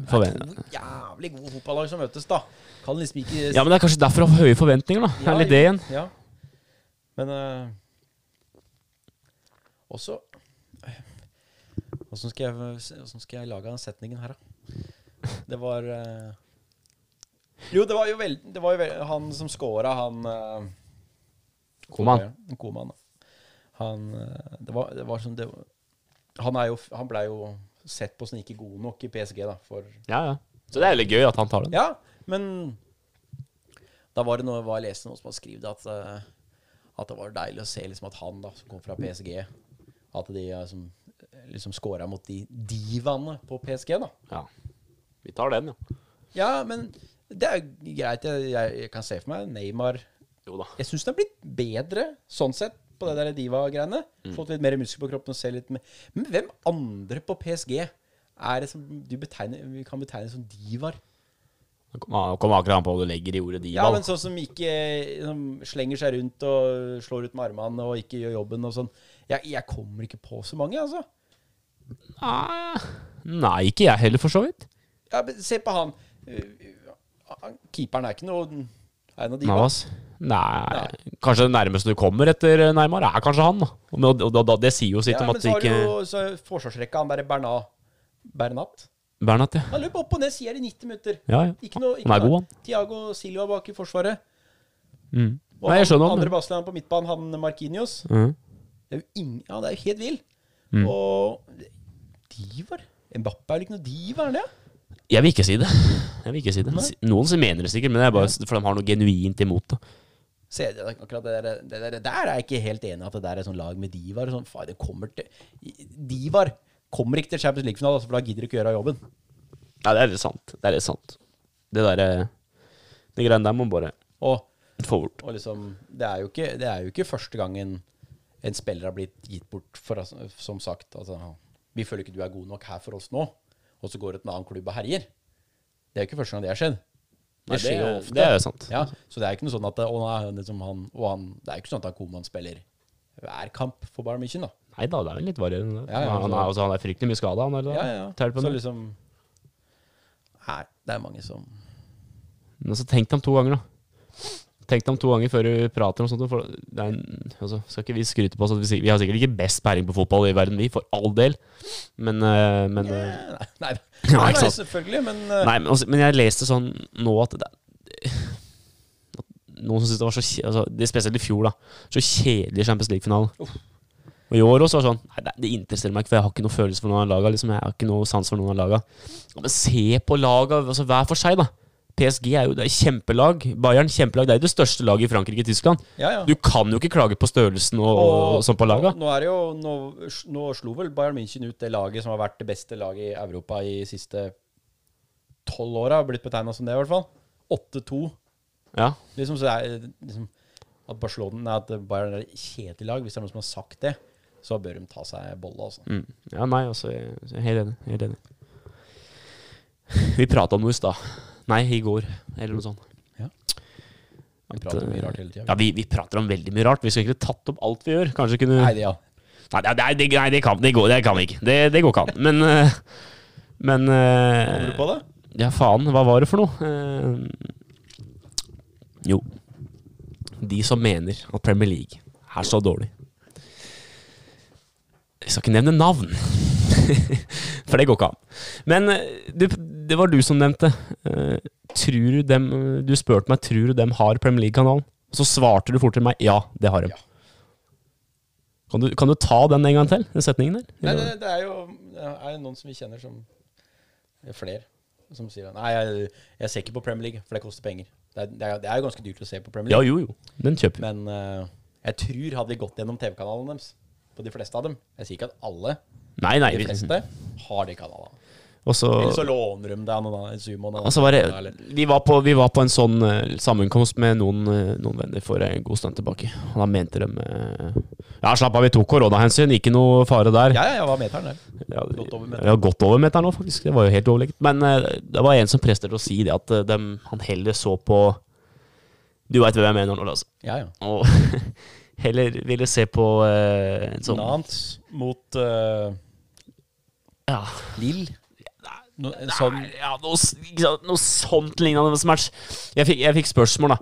forventa. To jævlig gode fotballag som møtes, da. Kan liksom ikke Ja, men det er kanskje derfor jeg har høye forventninger. da Det er litt det igjen Ja. Men eh, også Åssen skal, jeg- hvordan skal jeg lage den setningen her, da? Det var eh, Jo, det var jo vel, det var jo vel han som scora, han eh, Koman. Koman, da. Han eh, Det var, det var som det var- Han er jo Han blei jo sett på som ikke god nok i PSG, da, for Ja, ja. Så det er veldig gøy at han tar den. ja, men da var det noe var jeg leste noen som hadde skrevet at, eh, at det var deilig å se liksom at han da, som kom fra PSG, at de eh, som, liksom scora mot de divaene på PSG, da. Ja. Vi tar den, ja. Ja, men det er jo greit. Jeg, jeg, jeg kan se for meg Neymar Jo da. Jeg syns det har blitt bedre sånn sett på det der diva-greiene. Fått litt mer muskler på kroppen og ser litt mer Men hvem andre på PSG er det som du betegner, vi kan betegne som divaer? Nå kom- nå kommer akkurat an på hva du legger i ordet diva. Ja, da. men sånn som ikke som slenger seg rundt og slår ut med armene og ikke gjør jobben og sånn. Jeg, jeg kommer ikke på så mange, altså. Ah, Nei, ikke jeg heller, for så vidt. Ja, men se på han. Uh, han- Keeperen er ikke noe er en av de. hva? Navas. Nei, Kanskje det nærmeste du kommer etter eh, Neymar, er kanskje han. da Og med- og da, da, Det sier jo sitt om Ja, men at så det har du ikke jo så er forsvarsrekka, han derre Bernat. Bernat? Bernat, ja. Han løp opp og ned sider i 90 minutter. Ja, ja. Ikke noe, ikke Han er noe- god, han. Thiago Silva bak i forsvaret. Mm. Og Nei, jeg skjønner han. Andre han. Barcelona på midtbanen, han Markinios. Mhm. Det er jo ingen, ja, det er jo helt vill. Mm. Og diver? Mbappe er vel ikke noe diver, er han det? Jeg vil ikke si det. Jeg vil ikke si det Si- Noen som mener det sikkert, men det er bare s- for de har noe genuint imot det. Se, det, er akkurat det, der, det der, der er jeg ikke helt enig i at det der er sånn lag med divar. og Sånn, faen, det kommer til Divar kommer ikke til Champions League-finale, altså, for da gidder de ikke gjøre jobben. Ja, det er litt sant. Det er litt sant. Det derre De greiene der må man bare Og, få bort. og liksom, det er, jo ikke, det er jo ikke første gang en, en spiller har blitt gitt bort, for, altså, som sagt. Altså, vi føler ikke du er god nok her for oss nå, og så går det til en annen klubb og herjer. Det er jo ikke første gang det har skjedd. Nei, Det skjer jo det- ofte. det er jo sant. Ja, så det er ikke noe sånn at å, nei, han liksom, han, og han, Det er jo ikke sånn at han Koman spiller hver kamp for Bayern München, da. Nei da, det er jo litt varierende. det. Ja, ja, han, er, altså- altså, han er fryktelig mye skada, han. Er, Ja, ja. Tell på så det. liksom Nei, det er mange som Men så tenk deg om to ganger, da. Tenk deg om to ganger før du prater om sånt. For det er en, altså, skal ikke vi skryte på oss at vi, sik- vi har sikkert ikke best peiling på fotball i verden, vi, for all del. Men, eh, men eh, Nei, nei, Ja, nei, ikke nei sant. selvfølgelig, men eh, Nei, men, også, men jeg leste sånn nå at det, at Noen som syntes det var så kje- altså, det er Spesielt i fjor, da. Så kjedelig Champions League-finale. Og i år også var det sånn Nei, det, det interesserer meg ikke, for jeg har ikke noe følelse for noen av laga. Liksom. Jeg har ikke noe sans for noen av laga. Ja, Men se på laga altså, hver for seg, da. PSG er jo det er kjempelag. Bayern kjempelag. Det er jo det største laget i Frankrike og Tyskland. Ja, ja. Du kan jo ikke klage på størrelsen og, og, sånn på laga. Nå, nå er det jo nå, nå slo vel Bayern München ut det laget som har vært det beste laget i Europa i siste tolv åra. Blitt betegna som det, i hvert fall. 8-2. Ja. Liksom, så er det liksom At Barcelona nei, at Bayern er et kjedelig lag, hvis det er noen som har sagt det, så bør de ta seg bolle, altså. Mm. Ja, nei, altså jeg jeg er Helt enig. Helt enig. Vi prata om noe i stad. Nei, i går, eller noe sånt. eh, Vi prater mye rart hele tida. Mm, Ja, vi, vi prater om veldig mye rart. Vi skulle egentlig tatt opp alt vi gjør. Kanskje kunne Nei, Nei, det, ja. det, nei, det, nei, det, kan, det, går, det kan vi ikke. Det, det går ikke an. Men eh, Men Kommer du eh, på det? Ja, faen, hva var det for noe? Eh, jo. De som mener at Premier League er så dårlig. Jeg skal ikke nevne navn, for det går ikke an. Men eh, du, det var du som nevnte. Eh, Tror du dem Du spurte meg tror du dem har Premier League-kanalen. Og så svarte du fort til meg ja, det har de. Ja. Kan, du, kan du ta den en gang til, den setningen der? Nei, det, det er jo det er jo noen som vi kjenner som det er Flere som sier Nei, jeg, jeg ser ikke på Premier League, for det koster penger. Det er, det er, det er jo ganske dyrt å se på Premier Ja, League. jo, jo. Den kjøper vi. Men eh, jeg tror hadde vi gått gjennom TV-kanalene deres, på de fleste av dem Jeg sier ikke at alle, Nei, nei. de vi- fleste, har de kanalene. Og så, Eller så låner de deg noen av sumoen. og så var det vi var, på, vi var på en sånn eh, sammenkomst med noen, eh, noen venner for en god stund tilbake. Og da mente de eh, Ja, slapp av, vi tok koronahensyn. Ikke noe fare der. Ja, ja, jeg var meteren der. Ja, det- Godt over meter. Ja, godt over meter nå, faktisk. Det var jo helt overlegent. Men eh, det var en som presterte å si det, at eh, dem, han heller så på Du veit hvem jeg mener nå, altså. Ja, ja. Og heller ville se på eh, en sånn Nant mot eh, Ja, Lill. No, en sånn ja noe, s- ikke sant, noe sånt lignende som match. Jeg fikk, jeg fikk spørsmål, da.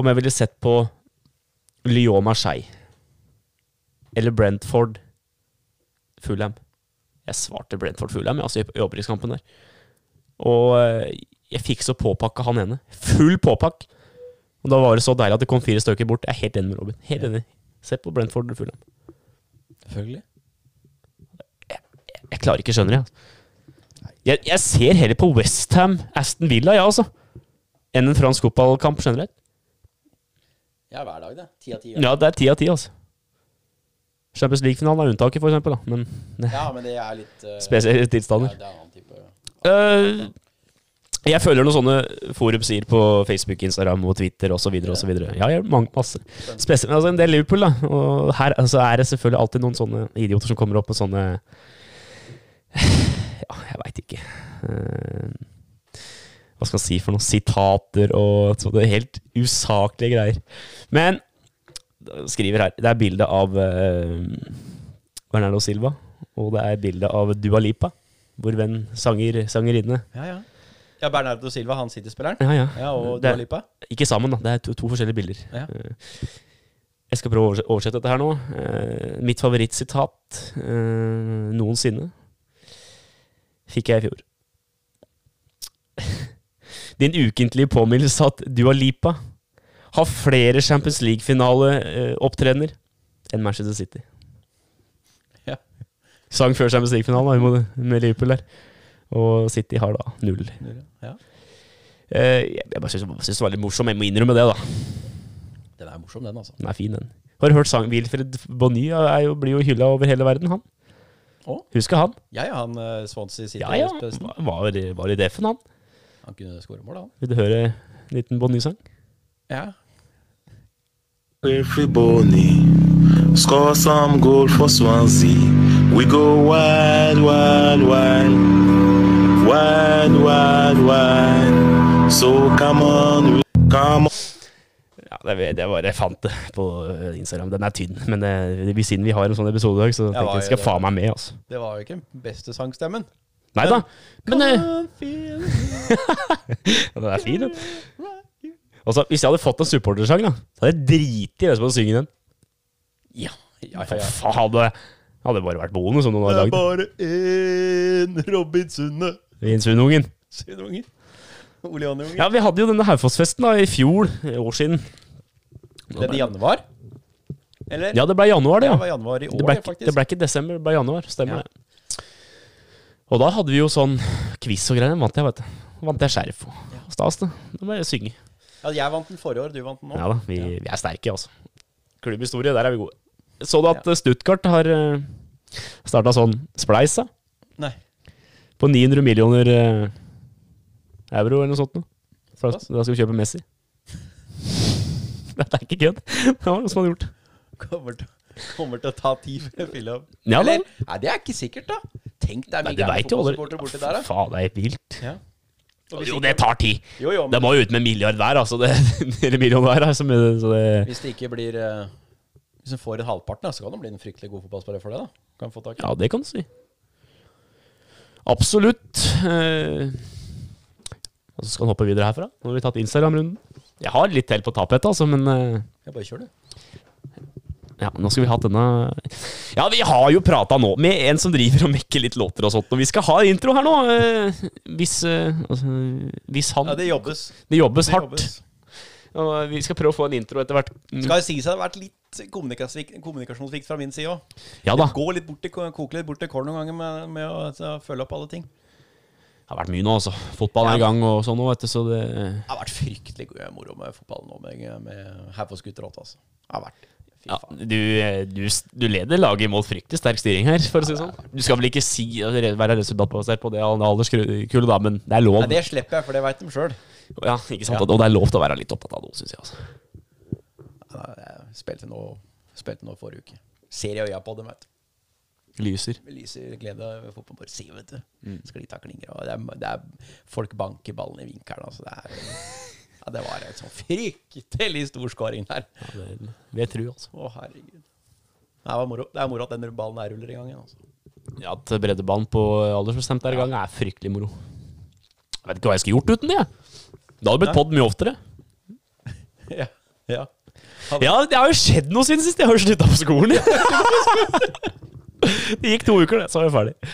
Om jeg ville sett på Lyon Marseille. Eller Brentford Fulham. Jeg svarte Brentford Fulham, jeg, altså i- i opprykkskampen der. Og eh, jeg fikk så påpakka han ene. Full påpakk! Og da var det så deilig at det kom fire stykker bort. Jeg er helt enig med Robin. Helt enig. Se på Brentford Fulham. Selvfølgelig. Jeg klarer ikke å skjønne det. Altså. Jeg, jeg ser heller på Westham Aston Villa, ja, altså. Enn en fransk fotballkamp generelt. Ja, hver dag, det. Ti av ti. Ja, det er ti av ti, altså. Champions League-finalen er unntaket, for eksempel, da. Men det er Ja, men det er litt eh, spesielle tilstander. ja, det er en annen type Eh, jeg følger noen sånne forum sier på Facebook, Instagram og Twitter osv. Ja, jeg mange, masse. Spesielt altså, en del Liverpool, da. Og her altså, er det selvfølgelig alltid noen sånne idioter som kommer opp med sånne Ja, jeg veit ikke. Eh, hva skal jeg si for noen sitater og sånne helt usaklige greier. Men skriver her Det er bilde av eh, Bernardo Silva, og det er bilde av Dua Lipa, vår venn sanger, sangerinne. Ja, ja. Ja, Bernardo Silva, han City-spilleren. Ja, ja. Ja, og Det Dua er- Lipa. Ikke sammen, da. Det er to, to forskjellige bilder. Ja. Eh, Jeg skal prøve å overse- oversette dette her nå. Eh, Mitt favorittsitat eh, noensinne fikk jeg i fjor. Din ukentlige påminnelse at Dua Lipa har flere Champions League-finaleopptredener enn Manchester City. Ja. Sang før Champions League-finalen da, med- med Liverpool der. Og City har da null. Ja. Eh, Jeg jeg bare syns syns det var litt morsom. Jeg må innrømme det, da. Den er morsom, den, altså. Den er fin, den. Har du hørt sang Wilfred Bonny er jo, blir jo hylla over hele verden, han. Å? Husker han? Ja, ja, han eh, Swansea City. Ja, ja. spes- Var, var i defen, han. Han kunne skåre mål, da, han. Vil du høre en liten Bonny-sang? Ja. Boney score some goal for Swansea. We go wide, wide, wide, wide, wide, wide. So come on, we- come on. Ja, det, er- det var jeg fant det på eh, Instagram. Den er tynn, men eh, vi- siden vi har en sånn episode i dag, så tenkte hva jeg skal gjør det? faen meg med, altså. Det var jo ikke den beste sangstemmen. Nei da. Men eh, Come feel ja, den er fin, den. Og så, hvis jeg hadde fått en supportersang, da, så hadde jeg driti i hvem som hadde sunget den. Ja, ja, ja. For faen, hadde hadde bare vært bonus om noen hadde lagd den. bare én Robin Sunde Vinsunungen. sin unge. Oleaneungen. Ja, vi hadde jo denne Haufoss-festen da i fjor, eh, år siden. Det er i januar? Eller? Ja, det ble januar, det. det ja. var januar i år, Det ble, ikke, faktisk. det ble ikke desember, det ble januar. Stemmer Ja. det. Og da hadde vi jo sånn quiz og greier. Den vant jeg, vet du. Vant jeg skjerf og stas, det. Da må jeg synge. Ja, jeg vant den forrige år, du vant den nå. Ja da, vi, vi er sterke, altså. Klubbhistorie, der er vi gode. Så du at eh, Stuttgart har starta sånn spleis, da? Nei. På 900 millioner eh, euro eller noe sånt noe. For Da Såpass. da skal vi kjøpe Messi. Dette er ikke kødd. Det var noe som hadde gjort. Kommer til, kommer til å ta tid for å fylle opp. Ja, da. Eller? Nei, det er ikke sikkert, da. Tenk deg Nei, mye du gærne veit jo fotballsupportere borti der, aldri. da. Faen, det er vilt. Ja. Og hvis Jo, ikke- det tar tid. Jo, jo, Det men må jo ut med en milliard hver, altså. Det, eller million hver, altså, men- så det, hvis det ikke blir eh, Hvis en får en halvparten, da, så kan han bli en fryktelig god fotballspiller for det, da. Kan få tak i. ja, det kan du si. Absolutt. Eh, og så skal han hoppe videre herfra. Nå har vi tatt Instagram-runden. Jeg har litt til på tapet, altså, men eh, Jeg bare kjør, du. ja, nå skal vi ha denne Ja, vi har jo prata nå med en som driver og mekker litt låter og sånt, og vi skal ha intro her nå. eh, hvis, eh, altså, hvis han Ja, det jobbes. Det jobbes Det hardt. jobbes. Og vi skal prøve å få en intro etter hvert. Mm. Skal jo sies at det har vært litt kommunikasvik- kommunikasjonssvikt fra min side òg. Ja da. Gå litt bort til, koke litt bort til kål noen ganger med, med å altså, følge opp alle ting. Det Det har vært mye nå, altså. Fotballen er i gang og sånn nå, vet du, så det har vært fryktelig gøy moro med fotball nå, med, med Haufoss-gutter og alt, altså. Det har vært Fy Ja, faen. du, eh, du, s- du leder laget mot fryktelig sterk styring her, for å si det sånn. Du skal vel ikke si være resultatbasert på det alderskullet, da, men det er lov. Nei, det slipper jeg, for det veit de sjøl. Ja, ikke sant? Og det er lov til å være litt opptatt av det òg, syns jeg. Altså. Spilte nå spilte nå forrige uke. Ser i øya på dem, vet du. Lyser. Vi lyser glede over fotball. Bare se, vet du. Sklitaklinger og det er, det er Folk banker ballen i vinkelen. Altså, det er ja, Det var en sånn fryktelig stor scoring der. Ja, det vil jeg tro, altså. Å, herregud. Det var moro. Det er moro at den ballen her ruller i gang igjen. Altså. Ja, At breddebanen på aldersbestemt der i gang er fryktelig moro. Jeg vet ikke hva jeg skulle gjort uten det. jeg. Da hadde det blitt Nei. podd mye oftere. Ja. ja. Ja, det har jo skjedd noe siden sist jeg har slutta på skolen. det gikk to uker, det, så var jeg ferdig.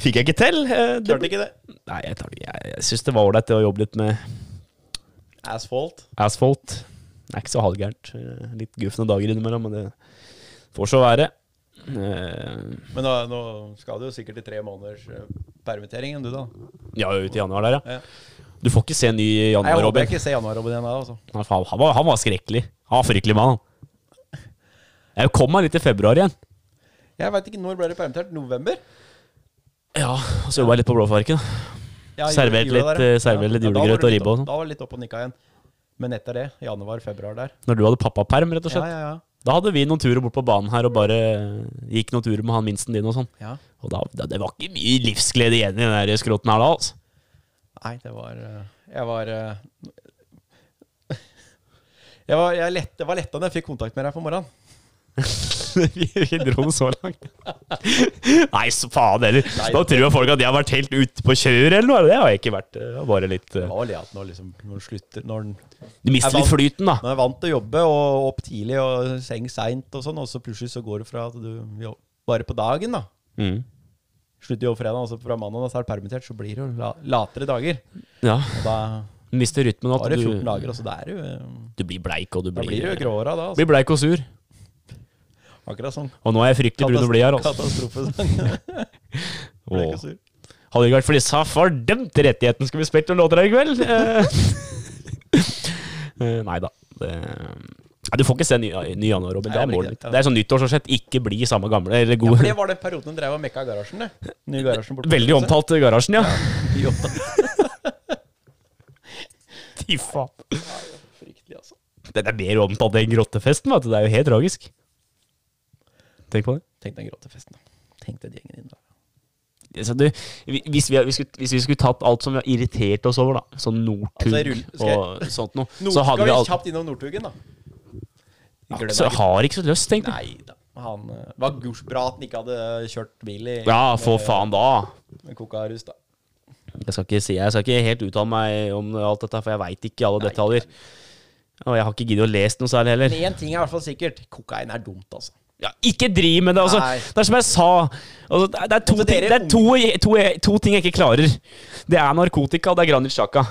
Fikk jeg ikke til. eh, Det Klarte ikke det. Nei, jeg, tar det. jeg, jeg syns det var ålreit det å jobbe litt med Asphalt. asfalt. Det er ikke så halvgærent. Eh, Litt gufne dager innimellom, men det får så være. Eh, Men nå, nå skal du jo sikkert i tre måneders eh, permittering enn du, da. Ja, ut i januar der, ja. Ja. Du får ikke se ny Nei, januar, jeg håper Robin. jeg ikke ser Januar-Robin igjen da, altså. Nei, faen, Han var, han var skrekkelig. Han var fryktelig mann. han. Jeg kom meg litt i februar igjen. Jeg veit ikke når ble det permittert. November? Ja, og Så jobba jeg litt på Blåfarken. Ja, jul- Servert jula litt, der, ja. eh, servert litt Ja, da var julegrøt det og litt ribbe og opp- sånn. Da var det litt opp og nikka igjen. Men etter det, januar-februar der Når du hadde pappaperm, rett og Ja, slett. ja, ja. Da hadde vi noen turer bort på banen her og bare gikk noen turer med han minsten din og sånn. ja. Og da, da, det var ikke mye livsglede igjen i den der skrotten her da, altså. Nei, det var eh, Jeg var eh, jeg var, jeg lett, det var letta da jeg fikk kontakt med deg på morgenen. vi, vi dro den så langt. Nei, så faen heller. Da tror jo folk at jeg har vært helt ute på kjør eller noe. Det har jeg ikke vært. Det var bare litt Det eh, var vel det at når, liksom, når den slutter Når den Du mister litt flyten, da. Når jeg er vant til å jobbe og opp tidlig og seng seint og sånn, og så plutselig så går det fra at du jo- bare på dagen, da. Mm. Slutter jobb fredag, og så fra mandag da, så er det permittert, så blir det jo la, latere dager. Ja, Og da du mister rytmen. da At er det 14 du, dager, og så da er det jo eh, du blir bleik, og du Da blir, eh, blir det jo gråhåra, da. Altså. blir bleik og sur. Akkurat sånn. Og nå er jeg fryktelig brun og blid her, altså. Katastrofesang. Ble ikke Åh. sur. Hadde det ikke vært for disse fordømte rettighetene, skulle vi spilt noen låter her i kveld. Eh. Nei da. Nei, du får ikke se ny, ny januar, Robin. Det er Nei, jeg blir målet ikke- mitt. Det er sånn nyttår, sånn sett. Ikke bli samme gamle. Eller Ja, god. for det var den perioden hun drev og mekka garasjen, det. Nye garasjen borte på Veldig huset. omtalt i garasjen, ja. Mye omtalt. Fy faen. Fryktelig, altså. Den er mer omtalt enn grottefesten, vet du. Det er jo helt tragisk. Tenk på det. Tenk den gråtefesten, da. Tenk den gjengen din, da. Så du, hvis, vi, vi skulle, hvis vi skulle tatt alt som vi har irritert oss over, da, sånn Northug Altså, jeg rull- skal jeg- og sånt noe, Nå så hadde skal vi vi alt kjapt innom Northugen, da. Glem Så deg. har ikke så lyst, tenkte jeg. Nei da. Han eh, var gurs bra at han ikke hadde kjørt bil i Ja, for faen, da. med kokarus, da. Jeg skal ikke si Jeg skal ikke helt uttale meg om alt dette, for jeg veit ikke alle detaljer. Og jeg har ikke giddet å lese noe særlig heller. Men én ting er i hvert fall sikkert. Kokain er dumt, altså. Ja, ikke driv med det, altså. Nei. Det er som jeg sa. Altså, det, er- det er, to, Altså, ting, dere det er to, to, to ting jeg ikke klarer. Det er narkotika, og det er Granit Xhaka.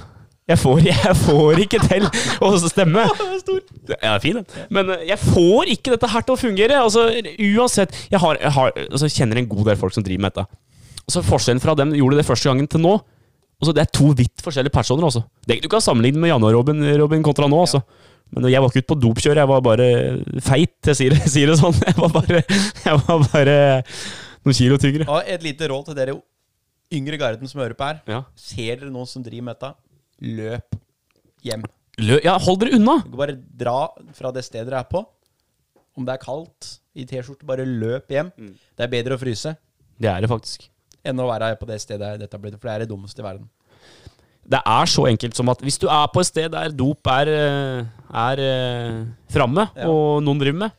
Jeg får, jeg får ikke til å stemme. Ja, fin, den. Men eh, jeg får ikke dette her til å fungere. Altså, uansett Jeg, har, jeg har, altså, kjenner en god del folk som driver med dette. Og så Forskjellen fra dem gjorde det første gangen til nå Altså, Det er to vidt forskjellige personer. altså. Det, du kan sammenligne med Januar-Robin Robin kontra nå. altså. Men jeg var ikke ute på dopkjør, jeg var bare feit. Jeg sier det, sier det sånn. Jeg var bare, jeg var bare noen kilo tyngre. Og et lite råd til dere yngre garden som hører på her. Ja. Ser dere noen som driver med dette, løp hjem. Lø ja, hold dere unna! Bare dra fra det stedet dere er på. Om det er kaldt, i T-skjorte, bare løp hjem. Det er bedre å fryse Det er det faktisk. enn å være på det stedet dette er blitt, for det er det dummeste i verden. Det er så enkelt som at hvis du er på et sted der dop er, eh, er eh, framme, Ja. og noen driver med,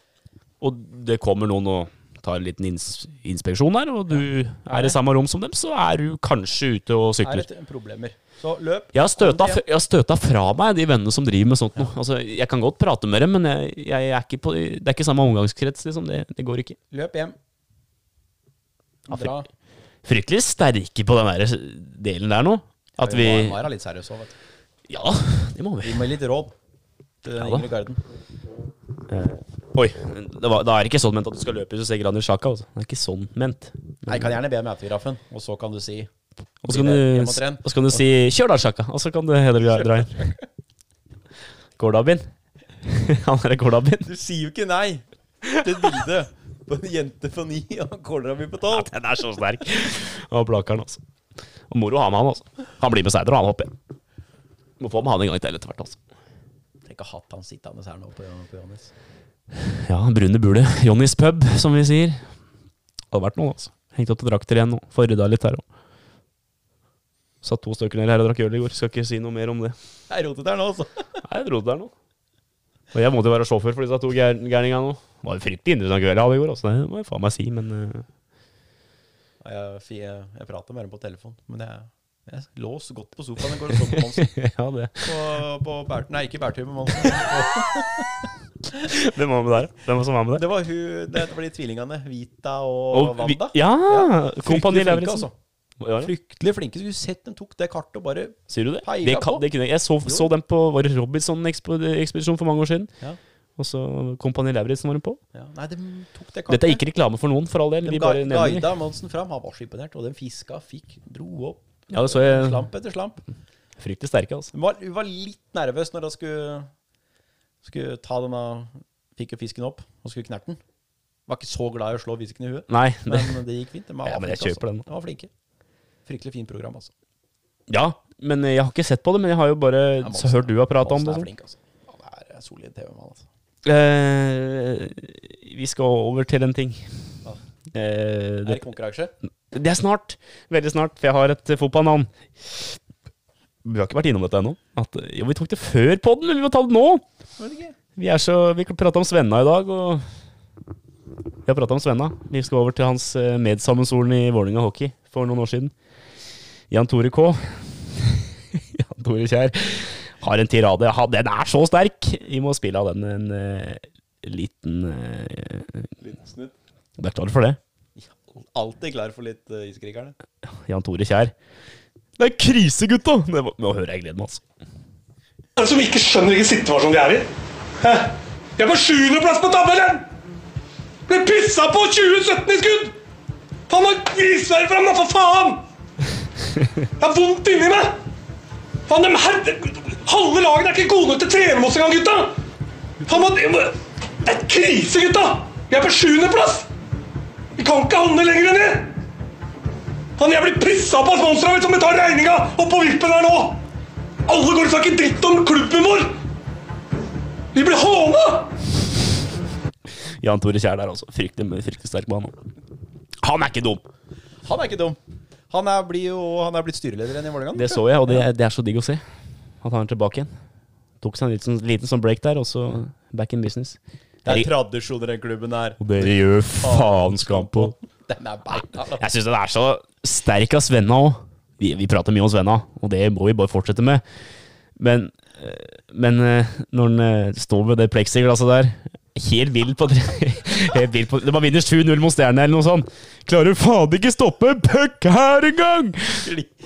og det kommer noen og tar en liten inns inspeksjon der, og du er i samme rom som dem, så er du kanskje ute og Det er sykler. et problemer. Så løp. Jeg har, støta, Kom deg hjem. jeg har støta fra meg de vennene som driver med sånt noe. Altså, jeg kan godt prate med dem, men jeg, jeg er ikke på, det er ikke samme omgangskrets. Liksom. Det, det går ikke. Løp hjem. Dra. Fryktelig sterke på den der delen der nå. At vi må være litt seriøse òg, vet du. Ja, det må vi. Gi meg litt råd til Ja den da. yngre garden. Oi. Det var, da er det ikke sånn ment at du skal løpe hvis du ser Granit Xhaka. Altså. Det er ikke sånn ment. Nei, jeg kan gjerne be om autografen, og så kan du si Og så kan, Hjem du- og tren. og så kan du si 'kjør da, Sjaka', og så kan du heller dra- dra inn. Gårdabin. Han er Gårdabin. Du sier jo ikke nei! et bilde på en jente på ni og cornera mi på tolv. Den er så sterk. Og Blakeren, altså. Og moro å ha med han, altså. Han blir med Seider, og han hopper. Må få med han en gang til etter hvert, altså. Tenk å ha hatt han sittende her nå på, på Johannes. Ja, brune bule. Johnnys pub, som vi sier. Det hadde vært noe, altså. Hengt opp til drakter igjen nå. Får rydda litt her òg. Satt to stykker ned her og drakk øl i går. Skal ikke si noe mer om det. Jeg rotet her nå, altså. Nei, jeg trodde det er noe. Og jeg måtte jo være sjåfør for disse to gær- gærningene nå. Det var jo fryktelig interessant kveld jeg hadde i går, altså. Det må jeg faen meg si, men eh, Nei, Jeg, fi- jeg, jeg prata med dem på telefon, men jeg, jeg lå så godt på sofaen i går og så på Monsen. Ja, det På, på Bært, nei, ikke Bærtur, men Monsen. Hvem var med der? Hvem var som var med der? Det var, hun, det var de tvillingene, Vita og, Og vi- Wanda. Ja! Kompani Fryktelig flinke, Lauritzen. altså. Ja, ja. Fryktelig flinke. Skulle sett dem tok det kartet og bare Sier du det? Peika Det, kan, på. det kunne jeg. Jeg så, så den på var det Robinson-ekspedisjon for mange år siden. Ja. Og så Kompani Lauritzen var hun på. ja. Nei, de tok det kartet. Dette er ikke reklame for noen, for all del. De Vi ga- bare nevner guida Monsen fram. Han var så imponert. Og den fiska, fikk, dro opp. Ja, det så jeg. Slamp etter slamp. Fryktelig sterke, altså. Hun var, hun var litt nervøs når hun skulle, skulle ta denne Fikk jo fisken opp og skulle knerte den. Var ikke så glad i å slå fisken i huet, Nei. Det, men det gikk fint. De var Ja, men jeg flinke, kjøper den. Altså. De var flinke. Fryktelig fint program, altså. ja, men eh, jeg har ikke sett på det. Men jeg har jo bare Ja, Monsen- så hørt du har prata om det. Monsen er sånn. flink, altså. Han er en solid TV-mann, altså. Eh, vi skal over til en ting. Hva? Eh, Er det, det konkurranse? det er snart. Veldig snart, for jeg har et eh, fotballnavn. Vi har ikke vært innom dette ennå. At, eh, Jo, vi tok det før podden, men vi må ta det nå! Vet ikke. Vi, er så, vi prata om Svenna i dag, og Vi har prata om Svenna. Vi skal over til hans eh, medsammensvoren i Vålerenga hockey for noen år siden. Jan Tore K. Jan Tore Kjær har en tirade. Ha, den er så sterk! Vi må spille av den en eh, liten eh, snutt. Det er klart for det. Alltid klar for litt uh, iskrigerne. Jan Tore Kjær. Det er krise, gutta! Det var, nå hører jeg gleden hans. Hvem som ikke skjønner hvilken situasjon de er i? Hæ? De er på sjuendeplass på tabellen! Ble pissa på 2017 i skudd! Faen, hva griser dere fram, da, for faen! Det er vondt inni meg! Faen, dem herre... Halve lagene er ikke gode nok til å trene med oss engang, gutta! Faen, hva- det må- det er krise, gutta! Vi er på sjuendeplass! Vi kan ikke handle lenger enn det! Faen, jeg blir pissa på av sponsorene mine som betaler regninga opp på vippen her nå! Alle går og snakker dritt om klubben vår! Vi blir håna! Jan Tore Kjær der, altså. Fryktelig, fryktelig sterk mann. Han er ikke dum! Han er ikke dum. Han er, blir jo, han er blitt styreleder igjen i Vålerenga. Det så jeg, og det, det er så digg å se. At han er tilbake igjen. Tok seg en liten, liten sånn break der, og så back in business. Det er tradisjoner i den klubben her. Dere gjør faen skam på. Den er altså. beina. da. Jeg syns den er så sterk av Svenna òg. Vi, vi prater mye om Svenna, og det må vi bare fortsette med. Men, eh, men eh, når han eh, står ved det pleksiglasset der Helt vill på, helt vill på Det var vinner 7-0 mot Stjerne eller noe sånt. Klarer faen ikke stoppe en puck her engang!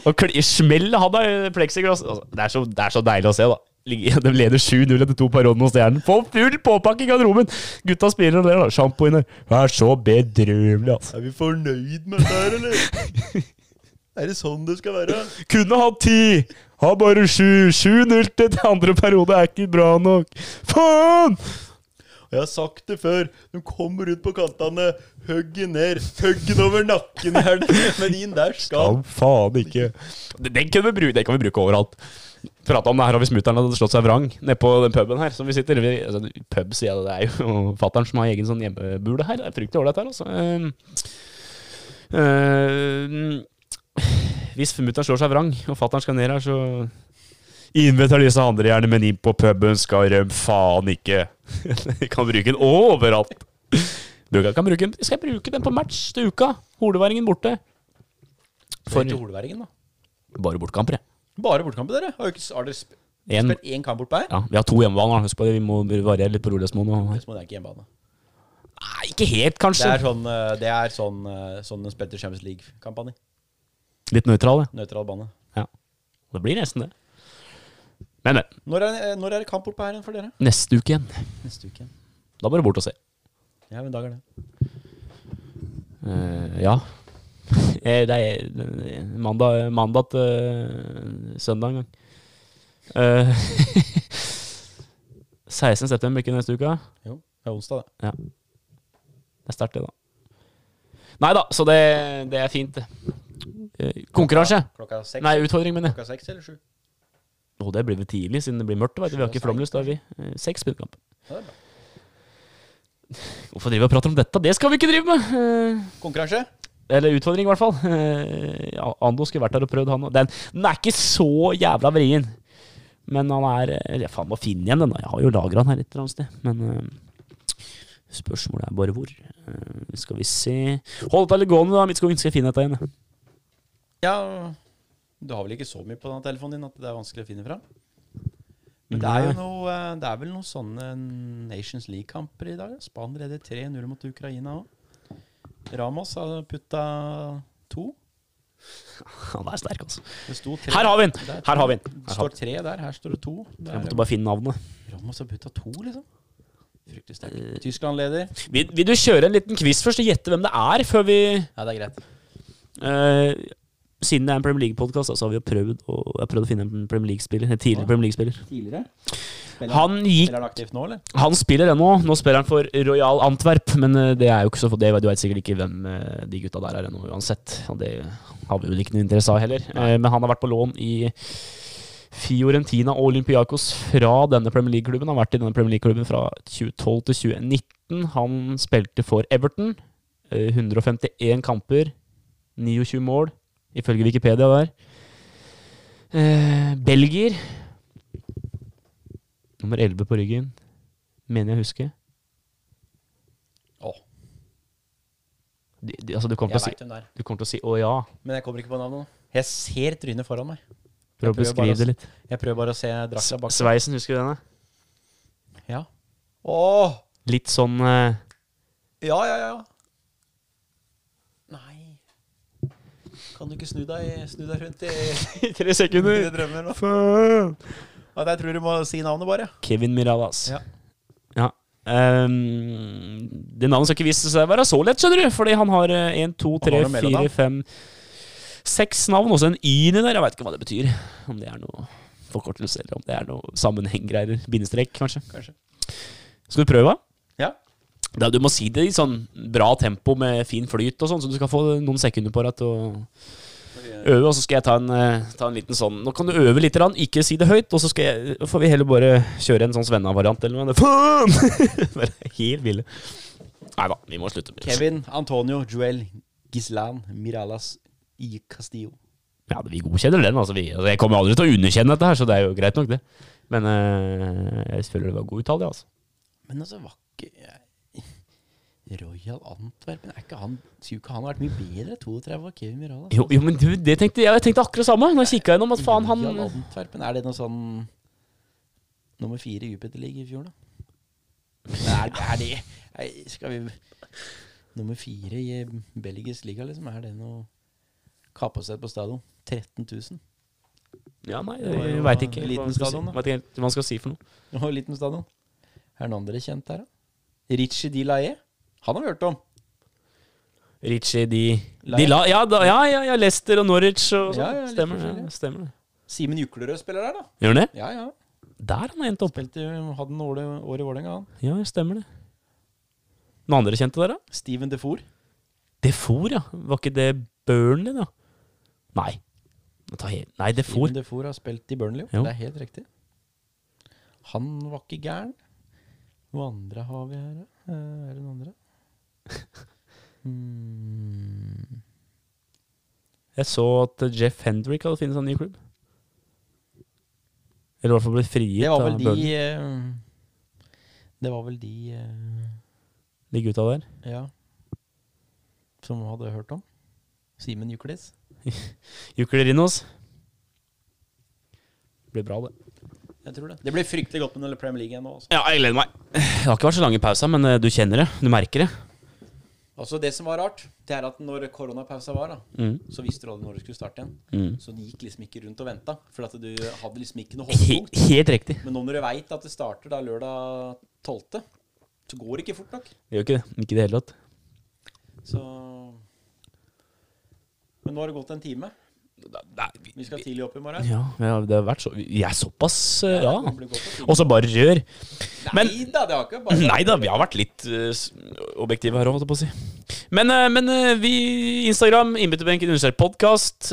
Og kli- smell han av pleksiglass. Altså, det, er så, det er så deilig å se, da. Ligger- De leder 7-0 etter to paroder mot Stjernen. Få full påpakke i garderoben! Gutta spiller og ler, da. Sjampo inne. Det er så bedrøvelig, altså. Er vi fornøyd med det her, eller? Er det sånn det skal være? Kunne hatt ti! Har bare sju! 7-0 til den andre periode er ikke bra nok! Faen! Og jeg har sagt det før. De kommer rundt på kantene, hugger ned, hugger over nakken her. Men inn der skal faen ikke. Den kan vi bruke, den kan vi bruke overalt. Prata om det her over smutteren hadde slått seg vrang nede på den puben her som vi sitter i. Altså, pub, sier jeg det. Det er jo fattern som har egen sånn hjemmebule her. Det er fryktelig ålreit her, altså. Eh, Ehm, ehm, hvis mutter'n slår seg vrang, og fatter'n skal ned her, så Innventer disse andre gjerne, men inn på puben skal de faen ikke. Vi kan bruke den overalt. Du kan kan bruke den. Skal jeg bruke den på match til uka? Holeværingen borte. For til Holværingen, da. Bare bortkamper, jeg. Bare bortkamper, dere. Har, jo ikke, har dere sp En- spilt én kamp bortpå her? Ja, vi har to hjemmebaner. Husk på det, vi må variere litt på Rolersmoen. og- Så må det er ikke hjemmebane. Nei, ikke helt, Det er kanskje. sånn eh, Det er sånn, eh, sånn en spilte Champions League-kampanje. Litt nøytral, ja. Nøytral bane. ja. Det blir nesten det. Men, men. Når er, eh, når er det kamp bortpå her igjen for dere? Neste uke igjen. Neste uke. Da bare bort og se. Ja, men dag er det. Eh, ja. Eh, Det er mandag, mandag til eh, søndag en gang. Uh, 16. september, ikke neste uke? Jo, det er onsdag, det. Ja. Det er sterkt, det, da. Nei da, så det, det er fint, det. Eh, Konkurranse. Klokka seks? Nei, utfordring, mener jeg. Klokka seks eller sju? Å, det blir vel tidlig, siden det blir mørkt. Vet du. Vi har ikke flomlys. Da har vi eh, seks spillekamp. Ja, det er bra. Hvorfor driver vi og prater om dette? Det skal vi ikke drive med! Eh, Konkurranse? Eller utfordring, i hvert fall. Eh, ja, Ando skulle vært der og prøvd, han òg. Den, den er ikke så jævla vrien. Men han er eh, Jeg faen må finne igjen den, da. Jeg har jo lagra den her et eller annet sted. Men eh, spørsmålet er bare hvor. Eh, skal vi se Hold dette litt gående, da, Midtskogen. Skal jeg finne dette igjen. jeg. Ja, du har vel ikke så mye på den telefonen din at det er vanskelig å finne fram? Men det er jo Nei. noe, eh, det er vel noen sånne Nations League-kamper i dag. ja. Spanien leder 3-0 mot Ukraina òg. Ramos har putta to. Han er sterk, altså. Det sto tre. Her har vi den! Der. Her har vi den. Her Det har står tre der, her står det to. Det jeg måtte er, bare finne navnet. Ramos har putta to, liksom. Fryktelig Eh. sterkt. Tyskland leder. Vil, vil du kjøre en liten quiz først og gjette hvem det er, før vi Ja, det er greit. Eh, siden det er en Premier League-podkast, så har vi jo prøvd å, jeg har prøvd å finne en Premier League-spiller. En tidligere Premier League-spiller. Tidligere? Han, gikk- Eller er han aktivt nå, eller? han spiller ennå. Nå spiller han for Royal Antwerp, men eh, det er jo ikke så det, du vet sikkert ikke hvem eh, de gutta der er ennå, uansett. Og det har vi vel ikke noe interesse av heller. Eh, men han har vært på lån i Fiorentina og Olympiakos fra denne Premier League-klubben. Han har vært i denne Premier League-klubben fra 2012 til 2019. Han spilte for Everton. eh, 151 kamper, 29 mål, ifølge Wikipedia der. Eh, Belgier. Nummer 11 på ryggen, mener jeg å huske. Åh, De, de, altså, du kommer, til jeg å si, veit hvem det er. du kommer til å si 'å ja'. Men jeg kommer ikke på navnet nå. Jeg ser trynet foran meg. For å Jeg prøver bare beskrive å- det litt. Jeg prøver bare å se drakta bak. Sveisen, husker du denne? Ja. Åh! Litt sånn eh, Ja, ja, ja. Nei Kan du ikke snu deg, snu deg rundt i I tre dine sekunder! drømmer nå? Faen! Ja, jeg tror du må si navnet, bare. Kevin Miralas. Ja. Ja. Ehm, det navnet skal ikke vise seg å være så lett, skjønner du. Fordi han har én, to, Han har tre, noe mellomnavn. fire, fem Seks navn. Også en y der. Jeg veit ikke hva det betyr. Om det er noe forkortelse, eller om det er noe sammenhenggreier. Bindestrek, kanskje. Kanskje. Skal du prøve? Ja. Da, du må si det i sånn bra tempo med fin flyt og sånn, så du skal få noen sekunder på deg til å øve. Og så skal jeg ta en, eh, ta en liten sånn Nå kan du øve litt, grann, ikke si det høyt, og så skal jeg, får vi heller bare kjøre en sånn Svenna-variant eller noe. Faen! Bare helt ville. Nei da, vi må slutte med det. Kevin Antonio Joel Gislan Miralas I Castillo. Ja, vi godkjenner den. Altså, vi, altså, jeg kommer aldri til å underkjenne dette her, så det er jo greit nok, det. Men eh, jeg føler det var god uttale, altså. Men altså, var ikke jeg- Royal Antwerpen, er ikke han Skulle ikke han ha vært mye bedre? 32 av Kevin Mirala? Jo, jo, men du, det tenkte jeg. Jeg tenkte akkurat samme. Når jeg kikka gjennom at faen, han Royal Antwerpen, er det noe sånn nummer fire i Jupiter-ligaen i fjor, da? Men Er, er det nei, Skal vi Nummer fire i eh, belgisk liga, liksom? Er det noe Kapasitet på stadion? 13 000? Ja, nei, var jeg jo veit ikke. Hva liten man skal si. stadion, da. Vet ikke helt hva man skal si for noe. Det var jo liten stadion. Er det noen dere kjent der, da? Richie Di Laye? Han har vi hørt om. Ritchie, de, La- de la, ja, da, ja, ja, ja, Leicester og Norwich og sånn. Ja, ja, litt stemmer, det, forskjellig. stemmer det. Simen Juklerød spiller der, da. Gjør han det? Ja, ja. Der han har endt opp. Spilte, hadde noen år, år i Vålerenga, han. Ja, stemmer det. Noen andre kjente der, da? Steven Defour. Defour, ja. Var ikke det Burnley, da? Nei. Nå tar jeg- Nei, Defour. Steven Defour har spilt i Burnley, Jo. jo. Det er helt riktig. Han var ikke gæren. Hva andre har vi her, da? Eh, Er det noen andre? Hmm. Jeg så at Jeff Hendrick hadde funnet seg en ny klubb. Eller i hvert fall blitt frigitt Det var av vel de Burnley. eh, Det var vel de eh, De gutta der. Ja. Som hadde hørt om. Simen Juklis. Juklerinos. Blir bra, det. Jeg tror det. Det blir fryktelig godt med noe Premier League igjen nå. altså. Også. Ja, jeg gleder meg. Det har ikke vært så lange pauser, men eh, du kjenner det. Du merker det. Altså Det som var rart, det er at når koronapausa var, da, Mm. så visste du aldri når du skulle starte igjen. Mm. Så du gikk liksom ikke rundt og venta, for at du hadde liksom ikke noe He holdepunkt. helt riktig. Men nå når du veit at det starter da lørdag 12., så går det ikke fort nok. Det gjør ikke det. Ikke i det hele tatt. Så Men nå har det gått en time. Nei, vi- Vi skal tidlig opp i morgen. Ja, ja, det har vært så Vi er såpass, eh, ja. det blir godt å si. Og så bare rør. Men Nei da, det har ikke bare Nei da, vi har vært litt eh, s- objektive her òg, holdt jeg på å si. Men, eh, men eh, vi Instagram, innbytterbenken understreket podkast.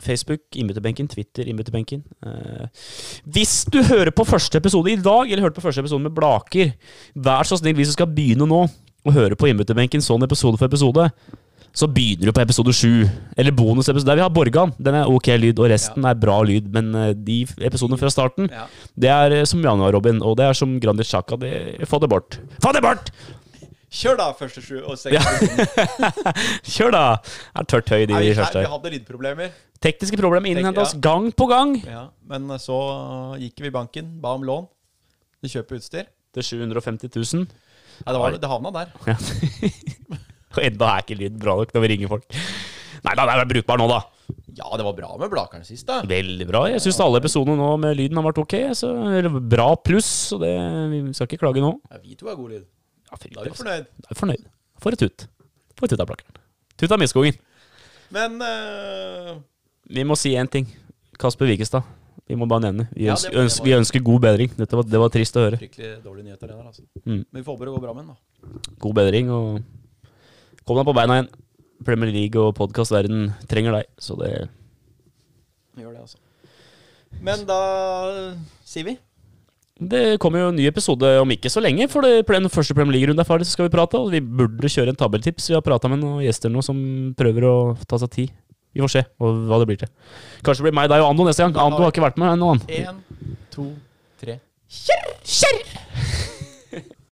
Facebook, innbytterbenken. Twitter, innbytterbenken. Eh, hvis du hører på første episode i dag, eller hørte på første episode med Blaker, vær så snill, vi som skal begynne nå, å høre på innbytterbenken sånn episode for episode, så begynner du på episode sju. Eller bonusepisode. Der vi har Borgan. Den er ok lyd, og resten er bra lyd. Men eh, de episodene fra starten, Ja. det er eh, som Januar, Robin. Og det er som Granit Xhaka. det- Få det bort. Få det bort! Kjør da, første sju og seks. Kjør, da! Det er tørt høy, de Nei, vi, første. vi hadde lydproblemer, Tekniske problemer innhenta oss ja. gang på gang. ja, men eh, så gikk vi i banken, ba om lån. Du kjøper utstyr. Til 750 000. Nei, det, var, det havna der. Ja. og enda er ikke lyd bra nok når vi ringer folk. Nei da, det er brukbar nå, da. Ja, det var bra med Blakeren sist, da. Veldig bra. Jeg syns alle episodene nå med lyden har vært ok. Så eller bra pluss, så det, vi skal ikke klage nå. Ja, vi to er god lyd. Ja, fy, Da er vi altså. fornøyd. Da er vi fornøyd. For et tut. For et tut av plakkeren. Tut av Midtskogen. Men eh, Vi må si én ting. Kasper Wikestad. Vi må bare nevne. Vi Ja, ønsker, det var- ønsker, vi ønsker god bedring. Dette var, det var trist å høre. fryktelig dårlige nyheter, det der, altså. Mm. Men vi får håpe det går bra med den, da. God bedring, og kom deg på beina igjen. Premier League og podkastverden trenger deg, så det Vi gjør det, altså. Men da eh, sier vi Det kommer jo en ny episode om ikke så lenge. For det, den første Premier League-runden er ferdig, så skal vi prate. Og vi burde kjøre en tabelltips. Vi har prata med noen gjester nå som prøver å ta seg tid. Vi får se hva- hva det blir til. Kanskje det blir meg, deg og Ando neste gang. Ando har ikke Eh, vært med ennå, han. én, to, tre.